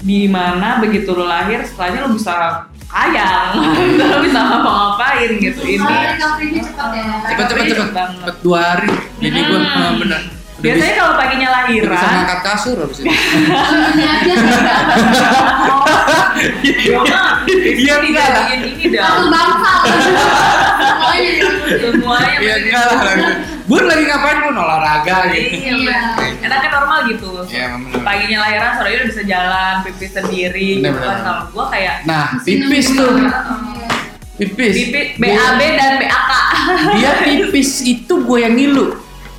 A: di mana begitu lo lahir setelahnya lo bisa kaya lo bisa ngapa-ngapain gitu ini
D: Soalnya recovery-nya cepet ya
C: Cepet cepet
A: Recovery
C: cepet
A: Iya, banget.
C: cepet dua hari. Jadi gua
A: Hmm.
C: eh, bener. Udah
A: biasanya Iya,
C: bisa-
A: kalau paginya
C: udah bisa
A: lahiran
C: ngangkat kasur habis itu.
D: Ini aja sih
A: iya
C: enggak lah.
A: ini dah
D: satu bangsa Semuanya jadi
A: semuanya
C: Iya
A: masih-
C: enggak lah. Gue lagi ngapain gue olahraga gitu.
A: Iya,
D: Iya.
A: bener. enaknya normal gitu
C: Iya, bener.
A: paginya lahiran sorenya udah bisa jalan pipis sendiri
C: Bener,
A: gitu kan
C: bener.
A: kalau gue kayak
C: Nah,
D: mesin
C: pipis
D: yang
C: tuh.
D: bener.
C: Pipis.
A: pipis BAB dan BAK
C: Dia pipis itu gue yang ngilu.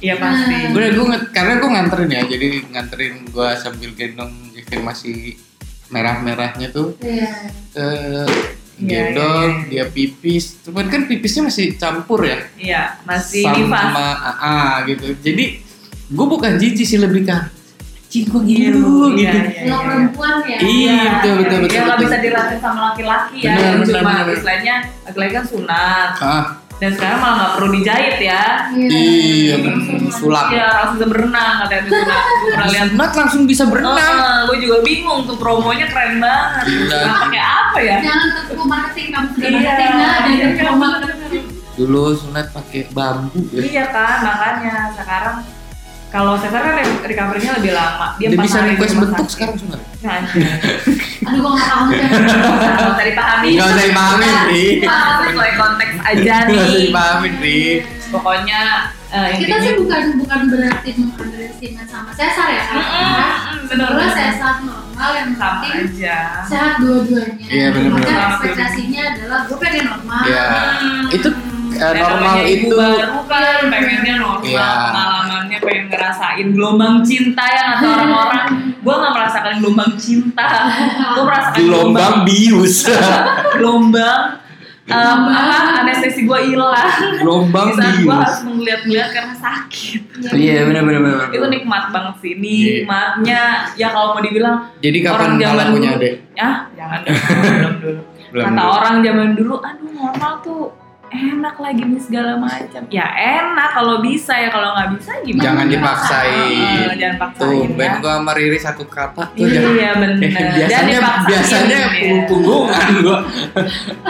A: iya pasti
C: Gue gue nge- karena gue nganterin ya, jadi nganterin gue sambil gendong Jevin masih merah-merahnya tuh.
D: Iya
C: Eh,
A: Iya,
C: gendong dia pipis. Cuman kan pipisnya masih campur ya.
A: iya masih
C: sama,
A: divas
C: ah, gitu. Jadi gue bukan jijik sih lebih ke Cing gue ngilu
A: Iya,
C: gitu.
A: iya, iya.
D: Lo perempuan ya
C: Iya, betul, betul,
A: Ya,
C: betul,
A: nggak
C: betul.
A: bisa dirasain sama laki-laki ya.
C: Benar,
A: yang
C: benar,
A: cuma
C: benar, benar.
A: istilahnya laki-laki kan sunat.
C: Ah,
A: Dan sekarang malah nggak perlu dijahit ya.
C: iya,
D: langsung
C: bener. sulap.
A: Iya, langsung bisa berenang katanya itu sunat. Gue pernah lihat.
C: Sunat langsung bisa berenang.
A: gue juga bingung tuh promonya keren banget.
C: Iya.
A: Nah, pakai apa ya?
D: Jangan tertipu marketing kamu sudah
A: Iya,
D: marketing nah
A: iya,
D: jangan tertipu
A: iya.
D: marketing
C: Dulu sunat pakai bambu ya.
A: Iya kan, makanya sekarang kalau sesar kan re- recovery-nya lebih lama. Dia,
C: Dia
A: empat
C: bisa
A: hari di
C: request
A: rumah
C: bentuk
A: sakit.
C: sekarang sunat.
A: Nah, anjir.
D: aduh gue nggak paham kan
A: Nggak usah dipahami. Nah,
C: Nggak usah dipahamin, Ri.
A: Pahami sesuai konteks aja
C: Nggak usah
A: nih.
C: dipahamin, Ri.
A: Pokoknya eh,
D: kita
A: intinya-
D: sih bukan bukan berarti mengunderestimate sama sesar ya karena
A: Mm-mm, bener
D: sebenarnya
A: bener.
D: sesar normal yang
A: sama ya.
D: penting
A: aja.
D: sehat dua-duanya.
C: Iya, benar-benar.
D: Maka ekspektasinya adalah gue pengen normal.
C: Ya, itu eh, normal
A: Ah. Nah, namanya ibu
C: itu
A: baru kan pengennya normal
C: Iya.
A: pengalamannya pengen ngerasain gelombang cinta yang atau orang-orang gue nggak merasakan gelombang cinta gue merasakan
C: gelombang bius,
A: gelombang um, apa, anestesi gue hilang
C: gelombang
A: di saat gue
C: bius.
A: harus melihat-lihat karena sakit
C: Iya benar-benar benar.
A: itu nikmat banget sih
C: Iya.
A: nikmatnya ya kalau mau dibilang
C: Jadi kapan
A: orang zaman
C: talaknya
A: dulu
C: deh?
A: ya jangan dulu, belum dulu
C: Belum
A: kata
C: dulu.
A: orang zaman dulu aduh normal tuh enak lagi nih segala macam ya enak kalau bisa ya kalau nggak bisa gimana
C: Jangan
A: Eh,
C: dipaksain.
A: jangan paksain
C: Tuh,
A: ya
C: Ben gua sama Riri satu kata tuh jangan.
A: iya benar jangan
C: Eh, biasanya
A: dipaksain
C: biasanya
A: ya.
C: punggungan gua.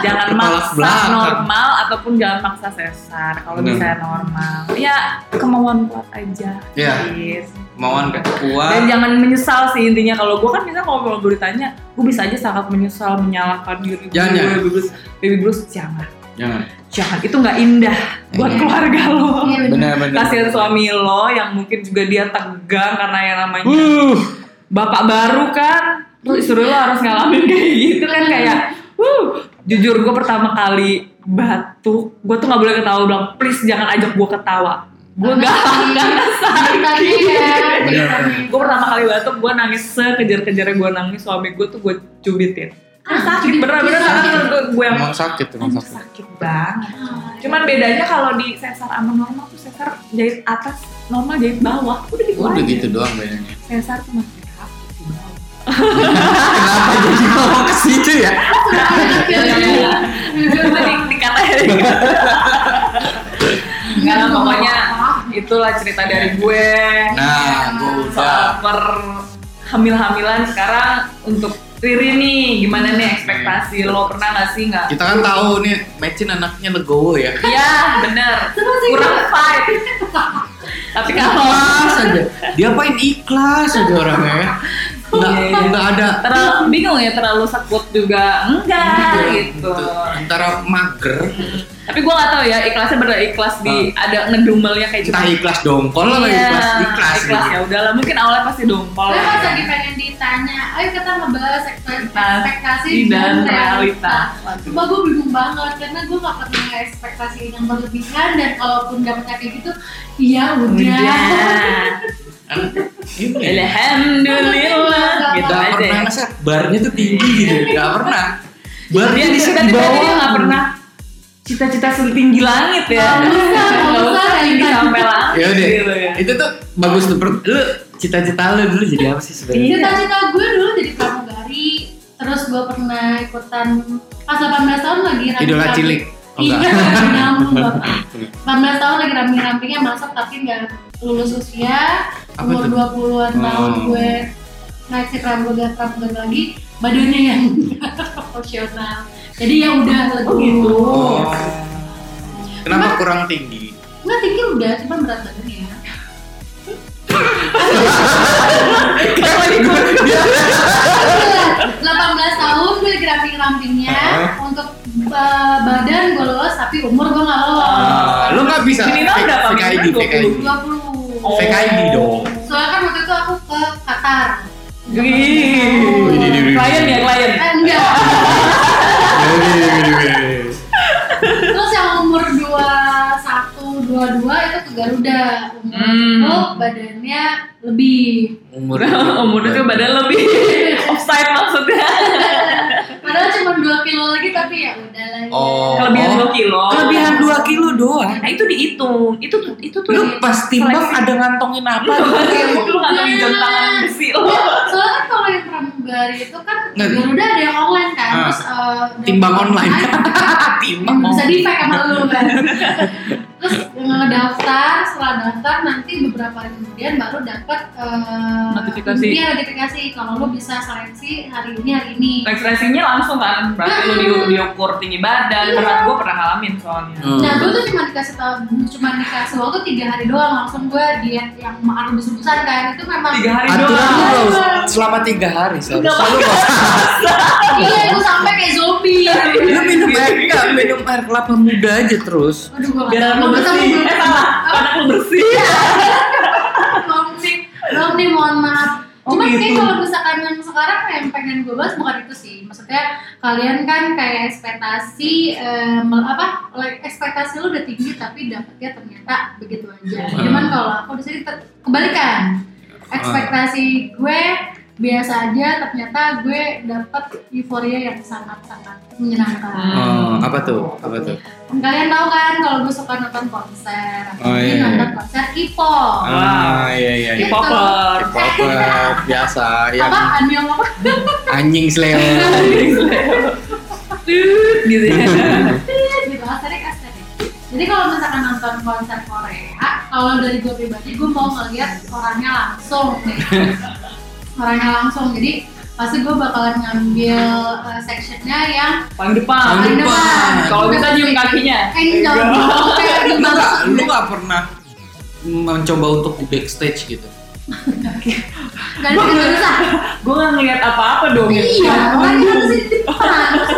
A: jangan
C: kepala
A: maksa
C: belakang.
A: normal ataupun jangan maksa sesar kalau
C: Bener.
A: bisa normal ya kemauan kuat aja
C: Iya.
A: please.
C: Kemauan ke kuat.
A: Dan jangan menyesal sih intinya kalau gue kan misalnya kalau kalau gue ditanya, gue bisa aja sangat menyesal menyalahkan diri gue.
C: Jangan, jangan.
A: Baby Bruce, baby Bruce jangan,
C: Jangan.
A: jangan itu nggak indah buat
C: Iya.
A: keluarga lo.
D: Iya, bener.
C: Benar-benar.
A: Kasihan suami lo yang mungkin juga dia tegang karena yang namanya
C: Uh,
A: bapak baru kan, terus istri lo harus ngalamin kayak gitu kan kayak, wuh, jujur gue pertama kali batuk, gue tuh nggak boleh ketawa bilang please jangan ajak gue ketawa, gue
D: Karena
A: gak
D: sakit.
A: karena
D: Tadi ya.
C: Bener.
A: gue pertama kali batuk gue nangis sekejar-kejarnya gue nangis suami gue tuh gue cubitin
D: Ah,
A: sakit bener-bener sakit gue gue yang
C: emang sakit, emang
A: "Aduh,
C: sakit.
A: sakit banget cuman bedanya kalau di sesar sama normal tuh sesar jahit atas normal jahit bawah udah gitu
C: Udah
A: aja.
C: gitu doang bedanya.
A: sesar tuh masih kaki di bawah
C: Kenapa jadi ngomong ke situ ya?
A: Iya, Itu di- dikatain Enggak lah Iya, pokoknya itulah cerita dari gue
C: Nah, gua udah.
A: soal per hamil-hamilan sekarang untuk Riri nih gimana
C: Iya.
A: nih ekspektasi lo pernah gak sih nggak?
C: Kita kan tahu nih, Mecin anaknya legowo ya.
A: Iya bener kurang fight tapi kalau
C: Ikhlas aja. Dia main ikhlas aja orangnya ya. Nggak,
A: Iya, iya.
C: nggak ada
A: terlalu bingung ya terlalu sekut juga enggak gitu.
C: Antara mager,
A: Tapi gue gak tahu ya ikhlasnya bener ikhlas di ada ngedumelnya kayak
C: Hmm. entah ikhlas dongkol lah
A: Iya,
C: ikhlas, ikhlas,
A: ikhlas
C: gitu.
A: ya udahlah mungkin awalnya pasti dompol
D: Gue pas lagi pengen ditanya, ayo kita ngebahas ekspek- ekspektasi ya?" Nah,
A: dan realita. Waduh.
D: Cuma gue bingung banget karena gue gak pernah ekspektasi yang berlebihan dan kalaupun dapetnya kayak gitu, iya
A: Iya.
D: udah.
C: Kan, ini.
A: Alhamdulillah gitu
C: Nggak
A: aja.
C: pernah ngeset Iya, barnya tuh tinggi gitu,
A: Iya.
C: nggak pernah. Barnya di set di
A: tadi tadi dia
C: bawah.
A: nggak pernah cita-cita setinggi langit ya.
D: Nggak usah, nggak
A: Nggak
D: usah, gitu.
A: usah tinggi
D: Rita.
A: sampai langit
C: Ya udah,
A: gitu ya.
C: itu tuh bagus tuh. Per- Lu cita-cita lu dulu jadi apa sih
A: Iya.
C: sebenarnya?
D: Cita-cita gue dulu jadi pramugari, terus gue pernah ikutan pas 18 tahun lagi rame
C: Idola cilik. Oh,
D: Iya,
C: enggak.
D: nyambung, Bapak. 18 tahun lagi ramping-rampingnya masuk tapi nggak lulus usia.
C: Apa
D: Umur
C: tuh?
D: 20-an tahun
C: Hmm.
D: gue naik si pramugari pramugari lagi, badannya yang proporsional. Jadi ya udah lego.
A: Oh gitu.
C: Oh.
D: Cuma-
C: Kenapa kurang tinggi?
D: Nggak tinggi udah, cuma berat badannya. ya.
C: Kenapa gue?
D: Alhamdulillah, 18 tahun gue lagi ramping-rampingnya
C: Heeh.
D: untuk uh, badan gue lolos tapi umur gue nggak lolos
C: Ah, lu nggak bisa
A: Minimal
C: P-
A: berapa?
C: PKID,
A: Minimal
C: PKID.
D: 20
A: Oh.
C: PKID dong.
D: soalnya kan waktu itu aku ke Qatar
A: Wih. Klien ya klien.
D: Eh, enggak
C: Iya,
D: terus yang umur 21, 22 itu ke Garuda umur
A: Hmm.
D: itu badannya lebih
C: Umur
A: Nah, Umur itu kan badan lebih offside maksudnya.
D: padahal cuma 2 kilo lagi tapi ya udah lah ya.
C: Oh.
A: Kelebihan 2 kilo.
C: Kelebihan 2 kilo doang.
A: Nah itu dihitung. Itu tuh- itu tuh.
C: Lu pas timbang
A: Seleksi.
C: ada ngantongin apa?
A: Lu nggak tahu jam
C: Iya.
A: tangan besi lo.
D: soalnya kan kalau yang pramugari itu kan
C: Nggak.
D: Garuda ada yang online kan
C: Ah.
D: terus eh, udah-
C: Timbang online.
D: Yang
C: timbang
D: bisa
C: online.
D: di pack sama lu kan terus ngedaftar setelah daftar nanti beberapa hari kemudian baru dapat eh,
A: Notifikasi.
D: iya, notifikasi kalau lu bisa seleksi hari ini hari ini
A: Nah, Ekspresinya langsung kan berarti lu di- diukur tinggi
C: Iya.
A: badan karena gue pernah ngalamin soalnya.
C: Hmm.
D: Nah, gue tuh cuma dikasih tau, cuma dikasih waktu tiga hari doang langsung gue diet yang makan rebus-rebusan kan itu memang
A: Tiga hari
C: Aturan
A: doang.
C: lu harus selama 3 hari seharusnya lu nggak usah.
D: iya gue sampai kayak zombie.
C: Lu minum air enggak? Minum air kelapa muda aja terus.
D: Aduh gue
A: Biar lu
D: nggak tahu. Masa
A: bersih. Eh
D: gua belum-
C: Iya.
A: salah. Karena lu bersih.
D: belum sih, belum nih mohon maaf.
C: Oh,
D: Cuma kayak
C: gitu.
D: kalau misalkan yang sekarang yang pengen gue bahas bukan itu sih. Maksudnya kalian kan kayak ekspektasi eh, mel- apa? like, ekspektasi lu udah tinggi tapi dapetnya ternyata begitu aja.
C: Hmm.
D: Cuman kalau aku di sini ter- kebalikan. Ekspektasi gue biasa aja ternyata gue dapet euforia yang sangat-sangat menyenangkan.
C: Oh, apa tuh? Apa tuh?
D: Kalian tahu kan kalau gue suka nonton konser,
C: Hmm. Oh,
D: Jadi
C: iya, iya.
D: nonton konser K-pop.
C: Ah, iya iya. iya.
A: K-popper.
C: K-popper, biasa yang
D: Apa? Anil apa?
C: anjing sleo.
A: Tut, gitu ya.
D: gitu aesthetic aesthetic jadi kalau misalkan nonton konser Korea kalau dari gue pribadi gue mau ngeliat orangnya langsung nih orangnya langsung jadi pasti gue bakalan ngambil uh, sectionnya yang
A: Paling depan.
C: Paling depan.
A: Kalau bisa nyium kakinya.
D: eh jangan dulu, kayak
C: Lu
D: gimana
C: nggak lu nggak pernah mencoba untuk di backstage gitu.
D: gak ada yang bisa
A: Gue gak ngeliat apa-apa dong. ya.
D: iya kan harus di depan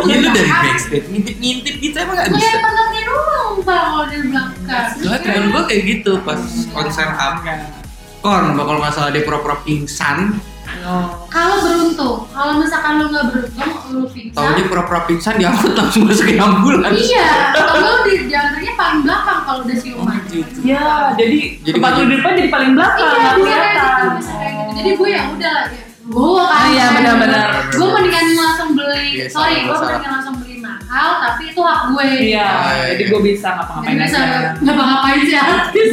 C: Iya lu dari backstage ngintip-ngintip gitu emang nggak bisa.
D: ngeliat penontonnya doang bang kalau dari belakang
C: Lah temen gue kayak gitu pas konser apa Korn bakal nggak salah dia pura-pura pingsan
A: Oh.
D: kalau beruntung kalau misalkan lu nggak beruntung lu pingsan
C: Taunya pura-pura pingsan diangkut langsung masukin ambulans
D: Iya, kalau di jantrinya paling belakang kalau udah siuman.
C: Oh, gitu.
A: Ya, jadi,
C: Jadi
A: tempat lu
C: maju.
A: di depan jadi paling belakang.
D: Iya,
A: nggak
D: bisa kayak
A: kelihatan.
D: gitu, bisa kayak gitu. Jadi gue ya udah lah ya. Gue kan.
A: Ah, iya, benar-benar.
D: Gue mendingan langsung beli,
C: Iya,
D: sorry,
C: salah,
D: gue
C: salah.
D: mendingan langsung beli mahal, tapi itu hak gue.
A: Iya, jadi gue bisa
D: Jadi
A: ngapa-ngapain
D: bisa
A: aja.
D: ngapa-ngapain sih
C: Iya.
D: artis.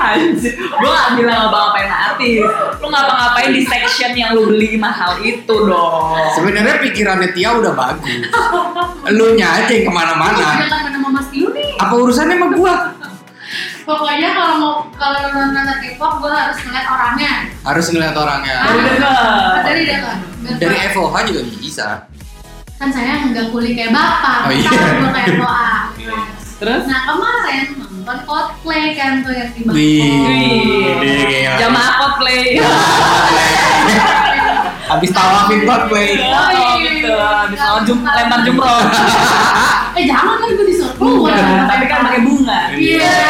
A: Anjir, gue gak bilang ngapa-ngapain artis. Lu ngapa-ngapain di section yang lu beli mahal itu dong.
C: Sebenarnya pikirannya Tia udah bagus Lu nya aja yang
D: Gue
C: kemana-mana
D: bilang mana Mas Yuni.
C: Apa urusannya sama gua?
D: Pokoknya kalau mau kalau nonton nonton K-pop, gue harus ngeliat orangnya.
C: Harus ngeliat orangnya
A: Dari dekat.
D: Dari dekat. Biar
C: Dari
D: gue-
C: FOH juga bisa
D: kan saya nggak kuli kayak bapak,
C: Oh, iya.
D: kalau gue kayak doa.
A: Terus?
D: Nah kemarin nonton Coldplay kan tuh yang di Bangkok.
C: Wih. Wih,
A: Wih,
C: gila.
A: jamaah cosplay.
C: Habis tawafin
A: Oh,
C: cosplay
D: iya.
A: gitu. Habis lawan jum lempar jumroh.
D: Eh jangan kan gue disuruh keluar.
A: Iya, tapi kan pakai bunga.
D: Iya.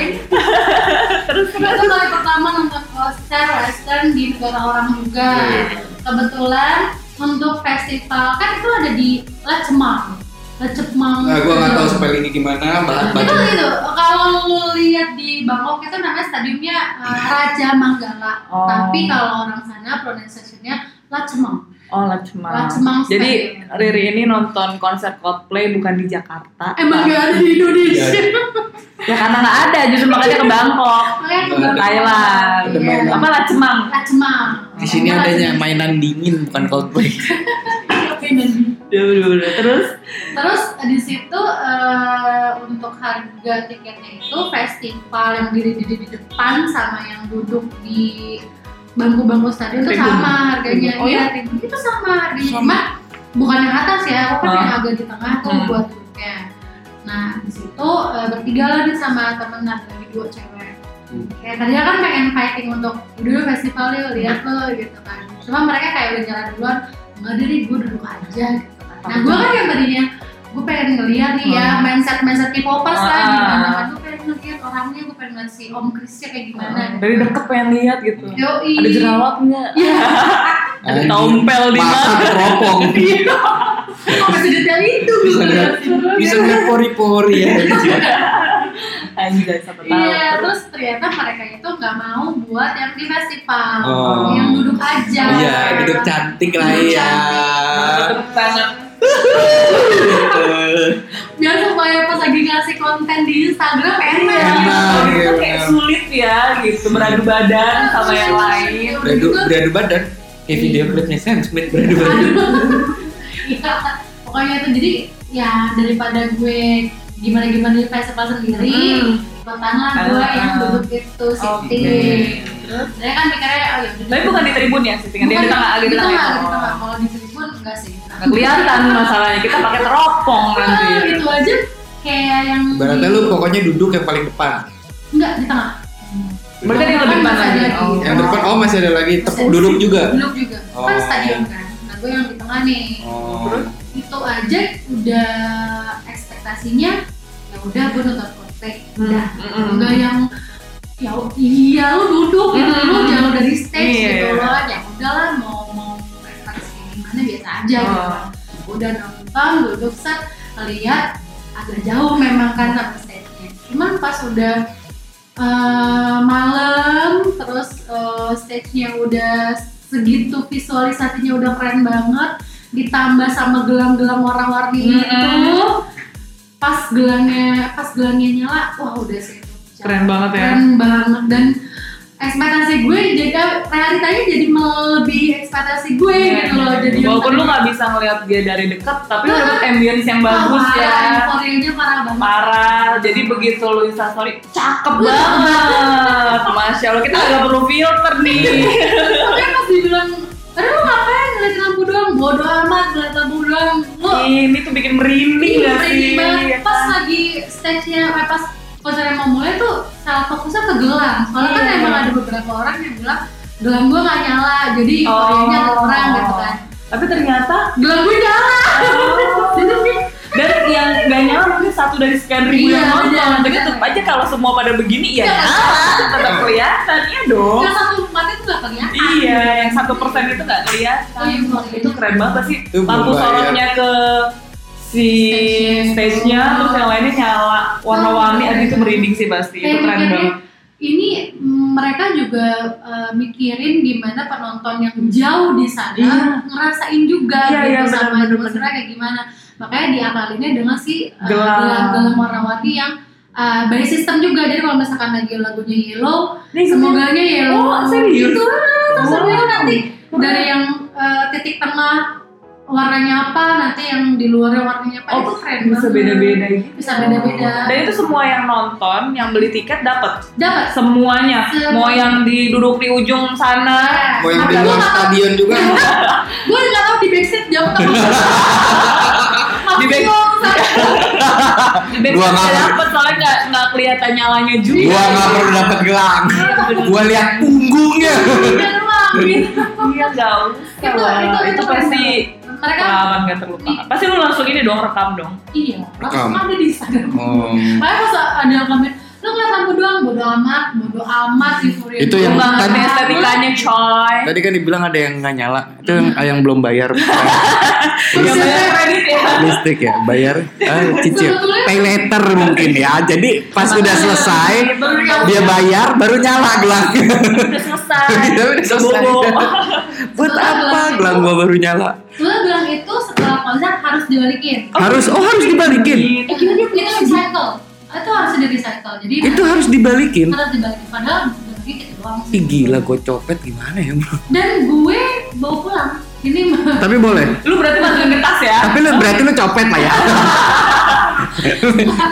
A: Iya.
D: Terus itu kali pertama nonton konser western di negara orang juga.
C: Iya.
D: Kebetulan untuk festival kan itu ada di Lecemang. Lecemang.
C: Nah, gua nggak tahu spellingnya gimana, bahan
D: itu
C: baju
D: gitu kalau lu lihat di Bangkok itu namanya stadiumnya uh, Raja Manggala
A: Oh.
D: tapi kalau orang sana pronunciation-nya Lacemang
A: Oh, Lacemang.
D: Lacemang
A: Jadi
D: Stadium.
A: Riri ini nonton konser Coldplay bukan di Jakarta.
D: emang gak ada di Indonesia
C: Iya.
A: Ya karena nggak ada, justru makanya ke Bangkok.
D: Kalian
C: Ke
D: juga-
A: Thailand.
D: Iya.
C: Mainan.
A: Apa Lacemang?
D: Lacemang
C: Di sini adanya mainan dingin bukan Coldplay.
A: Duh, duh, duh. Terus?
D: terus di situ eh, untuk harga tiketnya itu festival yang diri-diri di depan sama yang duduk di bangku-bangku stadion itu
A: Tribun.
D: sama harganya
A: Oh,
D: Iya,
A: iya?
D: tribun itu sama harganya cuma bukan yang atas ya aku kan
A: Ah.
D: yang agak di tengah tuh
A: Hmm.
D: buat duduknya nah di situ eh, bertiga lah nih sama temen dari dua cewek
C: Hmm.
D: kayak tadinya kan pengen fighting untuk dulu festival yuk lihat lo gitu kan cuma mereka kayak udah jalan duluan enggak diri gue duduk aja gitu kan nah gue kan yang tadinya gue pengen ngeliat nih ya
A: Hmm.
D: mindset mindset K-popers lah
A: Ah.
D: gimana kan gue pengen ngeliat orangnya gue pengen ngeliat si Om Chrisnya kayak gimana
A: Ah, Dari deket pengen lihat gitu.
D: Yoi.
A: Ada jerawat nggak?
D: Iya.
A: Ada tompel di
C: Masa
A: mana?
C: keropong.
D: Kok masih detail itu
C: Bisa lihat bisa
A: Iya.
C: lihat pori-pori ya.
A: Anjay, siapa tahu.
D: Iya, terus ternyata mereka itu nggak mau buat yang di festival,
C: Oh.
D: yang duduk aja.
C: Iya, duduk cantik lah
D: Duduk
C: ya.
A: Iya, Tutup tangan.
D: Biar supaya pas lagi ngasih konten di Instagram enak.
A: Kalau
C: Enak.
A: gitu
C: iya,
A: kayak
C: benar.
A: sulit ya gitu beradu badan sama yang lain.
C: Beradu beradu badan. Kayak video klipnya Sam Smith beradu badan.
D: Iya, pokoknya itu jadi ya daripada gue gimana gimana di festival sendiri,
A: Hmm.
D: ikutan lah gue
A: Ah.
D: yang duduk itu
A: Oke.
C: Iya.
D: sitting.
A: Iya.
D: Saya kan mikirnya, oh ya udah.
A: Tapi bukan di tribun ya, sittingan dia di tengah,
D: di
A: di tengah. ya?
D: di tengah. Kalau di tribun enggak sih.
A: Nggak kelihatan masalahnya, kita pakai teropong nanti.
D: Ah, gitu aja kayak yang
C: Berarti
D: di-
C: lu pokoknya duduk yang paling depan.
D: enggak di tengah
A: Berarti ada yang lebih
D: Kan
A: depan
D: masih
A: lagi.
D: ada
A: Oh.
D: lagi.
C: Yang depan oh masih ada lagi
D: Masih
C: tepuk
D: ada.
C: duduk juga.
D: belum juga kan
C: Oh.
D: stadion kan nah gue yang di tengah nih
C: Oh.
A: Terus?
D: itu aja udah ekspektasinya ya udah gue nonton konten
A: Hmm.
D: udah
A: Mm-mm.
D: enggak yang ya iya lu duduk gitu
A: Hmm.
D: lu jauh dari stage
A: Iya.
D: gitu lo aja gitu kan.
A: Oh.
D: udah nonton duduk set lihat agak jauh memang kan sama stage-nya cuman pas udah eh, malam terus eh, stage-nya udah segitu visualisasinya udah keren banget ditambah sama gelang-gelang warna-warni
A: Mm-mm.
D: itu pas gelangnya pas gelangnya nyala wah udah sih
A: Keren banget ya.
D: keren banget dan ekspektasi gue jadi realitanya jadi melebihi ekspektasi gue gitu loh jadi
A: Iya, Walaupun lu nggak bisa ngeliat dia dari deket, tapi lu
D: Nah.
A: dapet ambience yang bagus
D: parah,
A: ya.
D: euforianya parah banget
A: Parah. Jadi begitu lu instastory, cakep banget. Masya Allah, kita nggak perlu filter nih.
D: tapi pas dibilang Aduh lu ngapain ngeliatin lampu doang? Bodo amat ngeliat lampu doang Lu
A: Ini tuh bikin merinding gak
D: merinding
A: sih?
D: banget
A: Ya
D: Pas
A: kan?
D: lagi stage-nya, eh, pas konsernya mau mulai tuh salah fokusnya ke gelang Soalnya kan
A: Iya.
D: emang ada beberapa orang yang bilang Gelang gue gak nyala, jadi euforianya agak kurang gitu kan
A: Oh. Tapi ternyata
D: Gelang gue nyala
A: Oh. dan yang gak nyala mungkin satu dari sekian ribu
D: Iya,
A: yang
D: benar,
A: nonton. Tapi
D: benar.
A: tetap aja kalau semua pada begini ya
D: Iya,
A: nyala, tetap kelihatan ya dong.
D: Yang satu umatnya tuh gak kelihatan
A: Iya, yang satu persen itu nggak kelihatan.
D: Iya, makanya.
A: itu keren banget sih.
C: Itu
A: Lampu
C: berbayar.
A: sorotnya ke si
D: Stage-nya.
A: stage-nya, terus yang lainnya nyala warna-warni.
D: Oh.
A: Aduh itu merinding sih pasti. Itu
D: Kayak
A: gitu, keren
D: mikirnya,
A: banget.
D: ini mm, mereka juga eh, mikirin gimana penonton yang jauh di sana
A: Iya.
D: ngerasain juga
A: Iya,
D: gitu
A: iya, benar,
D: sama
A: benar,
D: atmosfernya kayak gimana. Makanya diakalinnya dengan si eh,
A: Gelang.
D: gelang-gelang warna-warni yang eh, by system juga. Jadi kalau misalkan lagi lagunya yellow,
A: Nih,
D: semoganya yellow.
A: Oh, serius?
D: Gitu lah, terus
A: Wow.
D: habis itu nanti
A: Keren.
D: dari yang eh, titik tengah warnanya apa, nanti yang di luarnya warnanya apa.
A: Oh,
D: itu keren
A: bisa
D: banget.
A: beda-beda gitu.
D: Bisa beda-beda.
A: Dan itu semua yang nonton, yang beli tiket dapat
D: Dapat
A: semuanya.
D: Semuanya.
A: Mau yang diduduk di ujung sana,
D: Nah,
C: Mau yang
D: tapi
C: di luar
D: gua nggak tahu-
C: stadion juga
D: Gue nggak tahu di backstage jauh atau
A: Di
D: Di
A: back- di backstage
C: Gua nggak-
A: dapat soalnya nggak nggak kelihatan nyalanya juga.
C: Gua nggak perlu dapat gelang Gua lihat punggungnya
A: Iya jauh.
D: Itu- itu- Iya kan? itu
A: pasti
D: Mereka
A: pengalaman gak terlupakan. Pasti lu langsung ini dong rekam dong.
D: iya, langsung
C: Rekam.
D: ada di Instagram.
C: Oh,
D: Makanya pas ada yang komen, lu ngeliat lampu doang, bodo amat, bodo amat gitu.
C: Itu
A: Lu
C: yang kan-
A: nggak
C: tadi-
A: ngerti estetikanya coy.
C: Tadi kan dibilang ada yang nggak nyala Itu yang, yang belum bayar Iya,
A: Yang banyak kredit ya.
C: listrik ya bayar ah, cicil pay later mungkin ya jadi pas udah selesai
D: Iya,
A: Baru yang
C: dia bayar baru nyala gelang
A: udah selesai.
C: Kita Iya, udah selesai.
A: Bobo.
C: buat apa gelang gua baru nyala
D: Gue bilang itu setelah konser harus dibalikin.
C: harus oh harus dibalikin
D: Eh gimana dia punya recycle? Itu harus di recycle. Jadi
C: itu harus dibalikin
D: harus dibalikin. Padahal bagi gitu doang.
C: Ih, gila gue copet gimana ya bro
D: Dan gue bawa pulang. Ini mah
C: tapi boleh
A: Lu berarti masukin kertas ya?
C: tapi lu berarti lu copet lah ya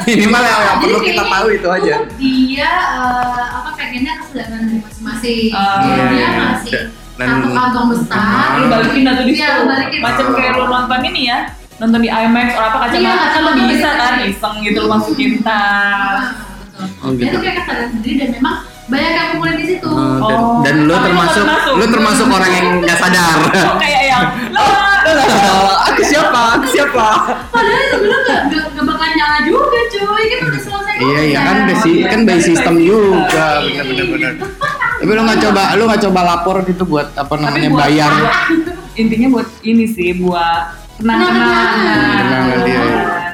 C: minimal yang, yang perlu
D: Jadi
C: kita
D: kayaknya
C: tahu itu aja
D: Dia eh, apa pengennya kesedaran dari masing-masing.
A: Ah,
D: Jadi
A: iya,
D: dia
C: iya.
D: ngasih
C: Dan-
D: satu kantong besar.
A: Lu balikin atau di
D: Iya,
A: situ.
D: balikin.
A: Macam kayak lu nonton ini ya. Nonton di IMAX atau apa kacamata kan
D: Iya,
A: lu
D: kacamata
A: bisa
D: gitu.
A: kan iseng gitu lu masukin tas.
D: Ah, betul.
C: Oh, gitu.
D: Itu kayak kesadaran sendiri dan memang banyak yang kumpulin di situ.
C: Oh, dan,
A: Oh.
C: dan
A: Tapi
C: lu
A: lu
C: termasuk
A: termasuk.
C: lu termasuk orang yang nggak sadar
A: Kok kayak yang lu
C: Oh, aku siapa aku siapa
D: Oh, Padahal itu dulu gak, gak, gak bakal nyala juga cuy. Kan udah selesai.
C: iya iya kan
D: konser.
C: by si kan by system juga
A: Iya.
C: bener bener bener tapi lu nggak coba lu nggak coba lapor gitu buat apa namanya
A: buat-
C: bayar
A: intinya buat ini sih buat kenang-kenangan
C: Kenangan dia.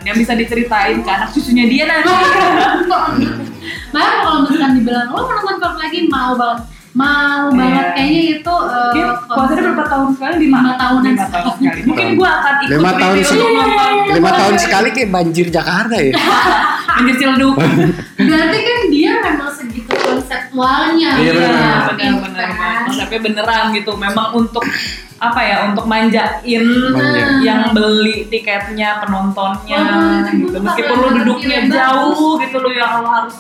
A: yang bisa diceritain ke anak cucunya dia nanti
D: Oh, iya. Bahkan kalau misalkan dibilang lo mau nonton klub lagi mau banget mau
A: Iya.
D: banget kayaknya itu eh,
A: Dia konsernya berapa tahun sekali? Lima,
D: Lima tahunan
A: Lima tahun sekali. Mungkin
C: Tahun.
A: gue akan ikut
C: Lima tahun
A: review
C: sekali.
A: nonton
C: lima tahun sekali kayak banjir Jakarta ya
A: Banjir Ciledug.
D: Berarti kan dia memang segitu konseptualnya.
C: Iya, benar,
A: Iya,
C: benar.
A: benar-benar. Konsepnya beneran gitu. Memang untuk apa ya? Untuk manjain
C: Manja.
A: yang beli tiketnya, penontonnya,
D: Wah,
A: gitu.
D: itu bukan
A: Meskipun lu
D: yang
A: duduknya
D: bagus.
A: jauh gitu, lu yang lu harus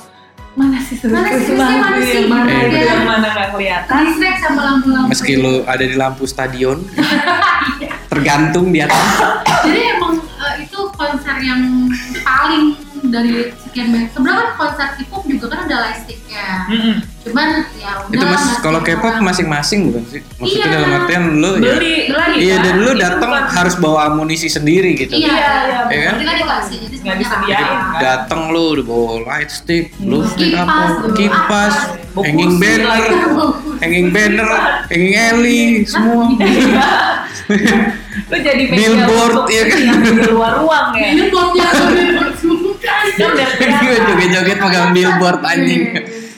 A: mana sih seru
D: Mana sih,
A: seru
D: mana
A: banget
D: sih? Iya.
A: yang mana
C: Eh,
A: itu
D: bener.
A: yang mana nggak kelihatan.
D: Distract sama lampu-lampu.
C: meski lu ada di lampu stadion tergantung di atas
D: Jadi emang eh, itu konser yang paling dari sekian banyak. Sebenarnya kan konser K-pop juga kan ada lightsticknya.
A: Mm-mm.
D: Cuman ya
C: Hmm.
D: udah.
C: itu mas
D: masih
C: kalau
D: orang.
C: K-pop masing-masing bukan sih maksudnya
D: Iya.
C: dalam artian lu ya
A: Beli lagi.
C: iya
A: kan?
C: dan lu
A: Itu
C: datang
A: bukan-
C: harus bawa amunisi sendiri gitu
D: Iya,
A: Iya,
D: iya.
A: iya.
C: Iya kan?
D: Berarti kan dikasih jadi
A: Nggak
D: semuanya
A: disediain,
D: rata.
A: kan?
C: datang lu udah bawa light stick, blue stick
D: Kipas,
C: apa,
D: dulu
C: kipas,
A: apa.
C: hanging
A: Bokusi
C: banner,
A: lagi. Iya. Nah,
D: Bagus.
C: hanging banner, hanging alley, semua.
A: Lu jadi media
C: Billboard,
A: untuk
C: iya kan?
A: yang di luar ruang ya.
D: Ini botnya billboard semua
A: Kan
D: kan.
C: Iya,
A: udah
C: Gue
A: kelihatan.
C: joget-joget
A: Iya.
C: megang billboard anjing.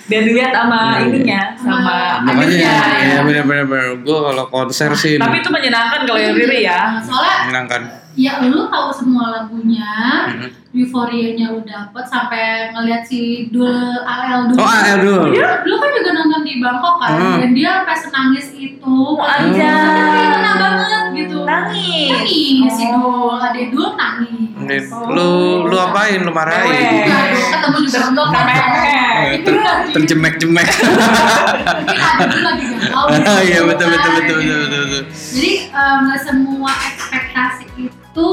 A: Dan dilihat sama
C: Iya.
A: ininya, sama
D: Sama-
C: Makanya
A: adiknya.
C: ya,
D: Iya.
C: bener-bener gue kalau konser sih
A: Tapi itu menyenangkan kalau yang Riri ya.
D: Soalnya
C: menyenangkan.
D: ya lu tahu semua lagunya,
C: Mhm.
D: euforianya lu dapet sampai ngeliat si Dul Al dulu.
C: Oh, AL dulu.
D: Dia dulu kan juga nonton di Bangkok kan,
C: Hmm.
D: dan dia sampai senangis itu.
A: Oh, Anjay.
D: Oh, Tapi kena banget gitu.
A: Nangis.
D: Nangis si
A: Oh.
D: Dul, ada Dul nangis.
C: Oh. Lu lu apain? Lu
A: Iya,
C: marahin?
D: Enggak, dong, ketemu di Bangkok kan.
A: Terjemeh.
C: Ter- Terjemek-jemek.
D: Tapi ada Dul lagi galau.
C: Ah, Iya betul betul betul betul betul. betul.
D: Jadi em, nggak semua ekspektasi itu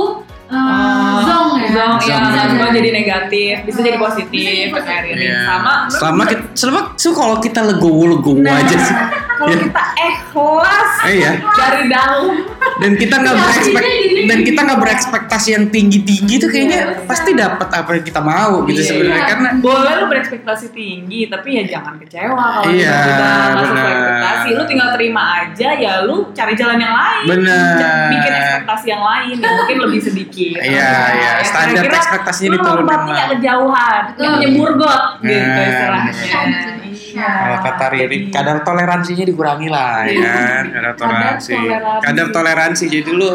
D: em,
A: Ah,
D: zong ya.
A: Zong, iya.
C: Zong,
A: Zong
C: iya.
A: jadi negatif, bisa jadi positif,
D: Bisa jadi
A: kayak Riri.
C: Iya.
A: Sama, lu-
C: Selama kita, selama so, kalau kita legowo legowo
A: Nah,
C: aja sih.
A: Kalau
C: Iya.
A: kita ikhlas
C: Eh, iya.
A: dari dalam,
C: Dan kita nggak
D: Iya,
C: berekspek
D: iya, iya, iya.
C: dan kita nggak berekspektasi yang tinggi tinggi tuh
D: Iya,
C: kayaknya
D: betul.
C: pasti dapat apa yang kita mau gitu
A: Iya.
C: sebenarnya karena
A: boleh lu berekspektasi tinggi, tapi ya jangan kecewa kalau
C: Iya,
A: kita nggak sesuai
C: benar.
A: ekspektasi. Lu tinggal terima aja, ya lu cari jalan yang lain.
C: Benar.
A: Jangan Bikin ekspektasi yang lain, yang mungkin lebih sedikit. Nah, ya
C: Iya, iya. Standar
A: kira-kira
C: ekspektasinya
A: Lu
C: diturunin
A: lombatnya
C: lah.
A: nggak kejauhan,
D: Betul.
A: yang nyebur got, gitu
C: Nah,
A: istilahnya.
D: benar.
A: Iya.
C: kalau kata Riri
A: Jadi-
C: kadar toleransinya dikurangi lah ya kan? kadar toleransi
A: Iya, toleransi.
C: kadar toleransi jadi lu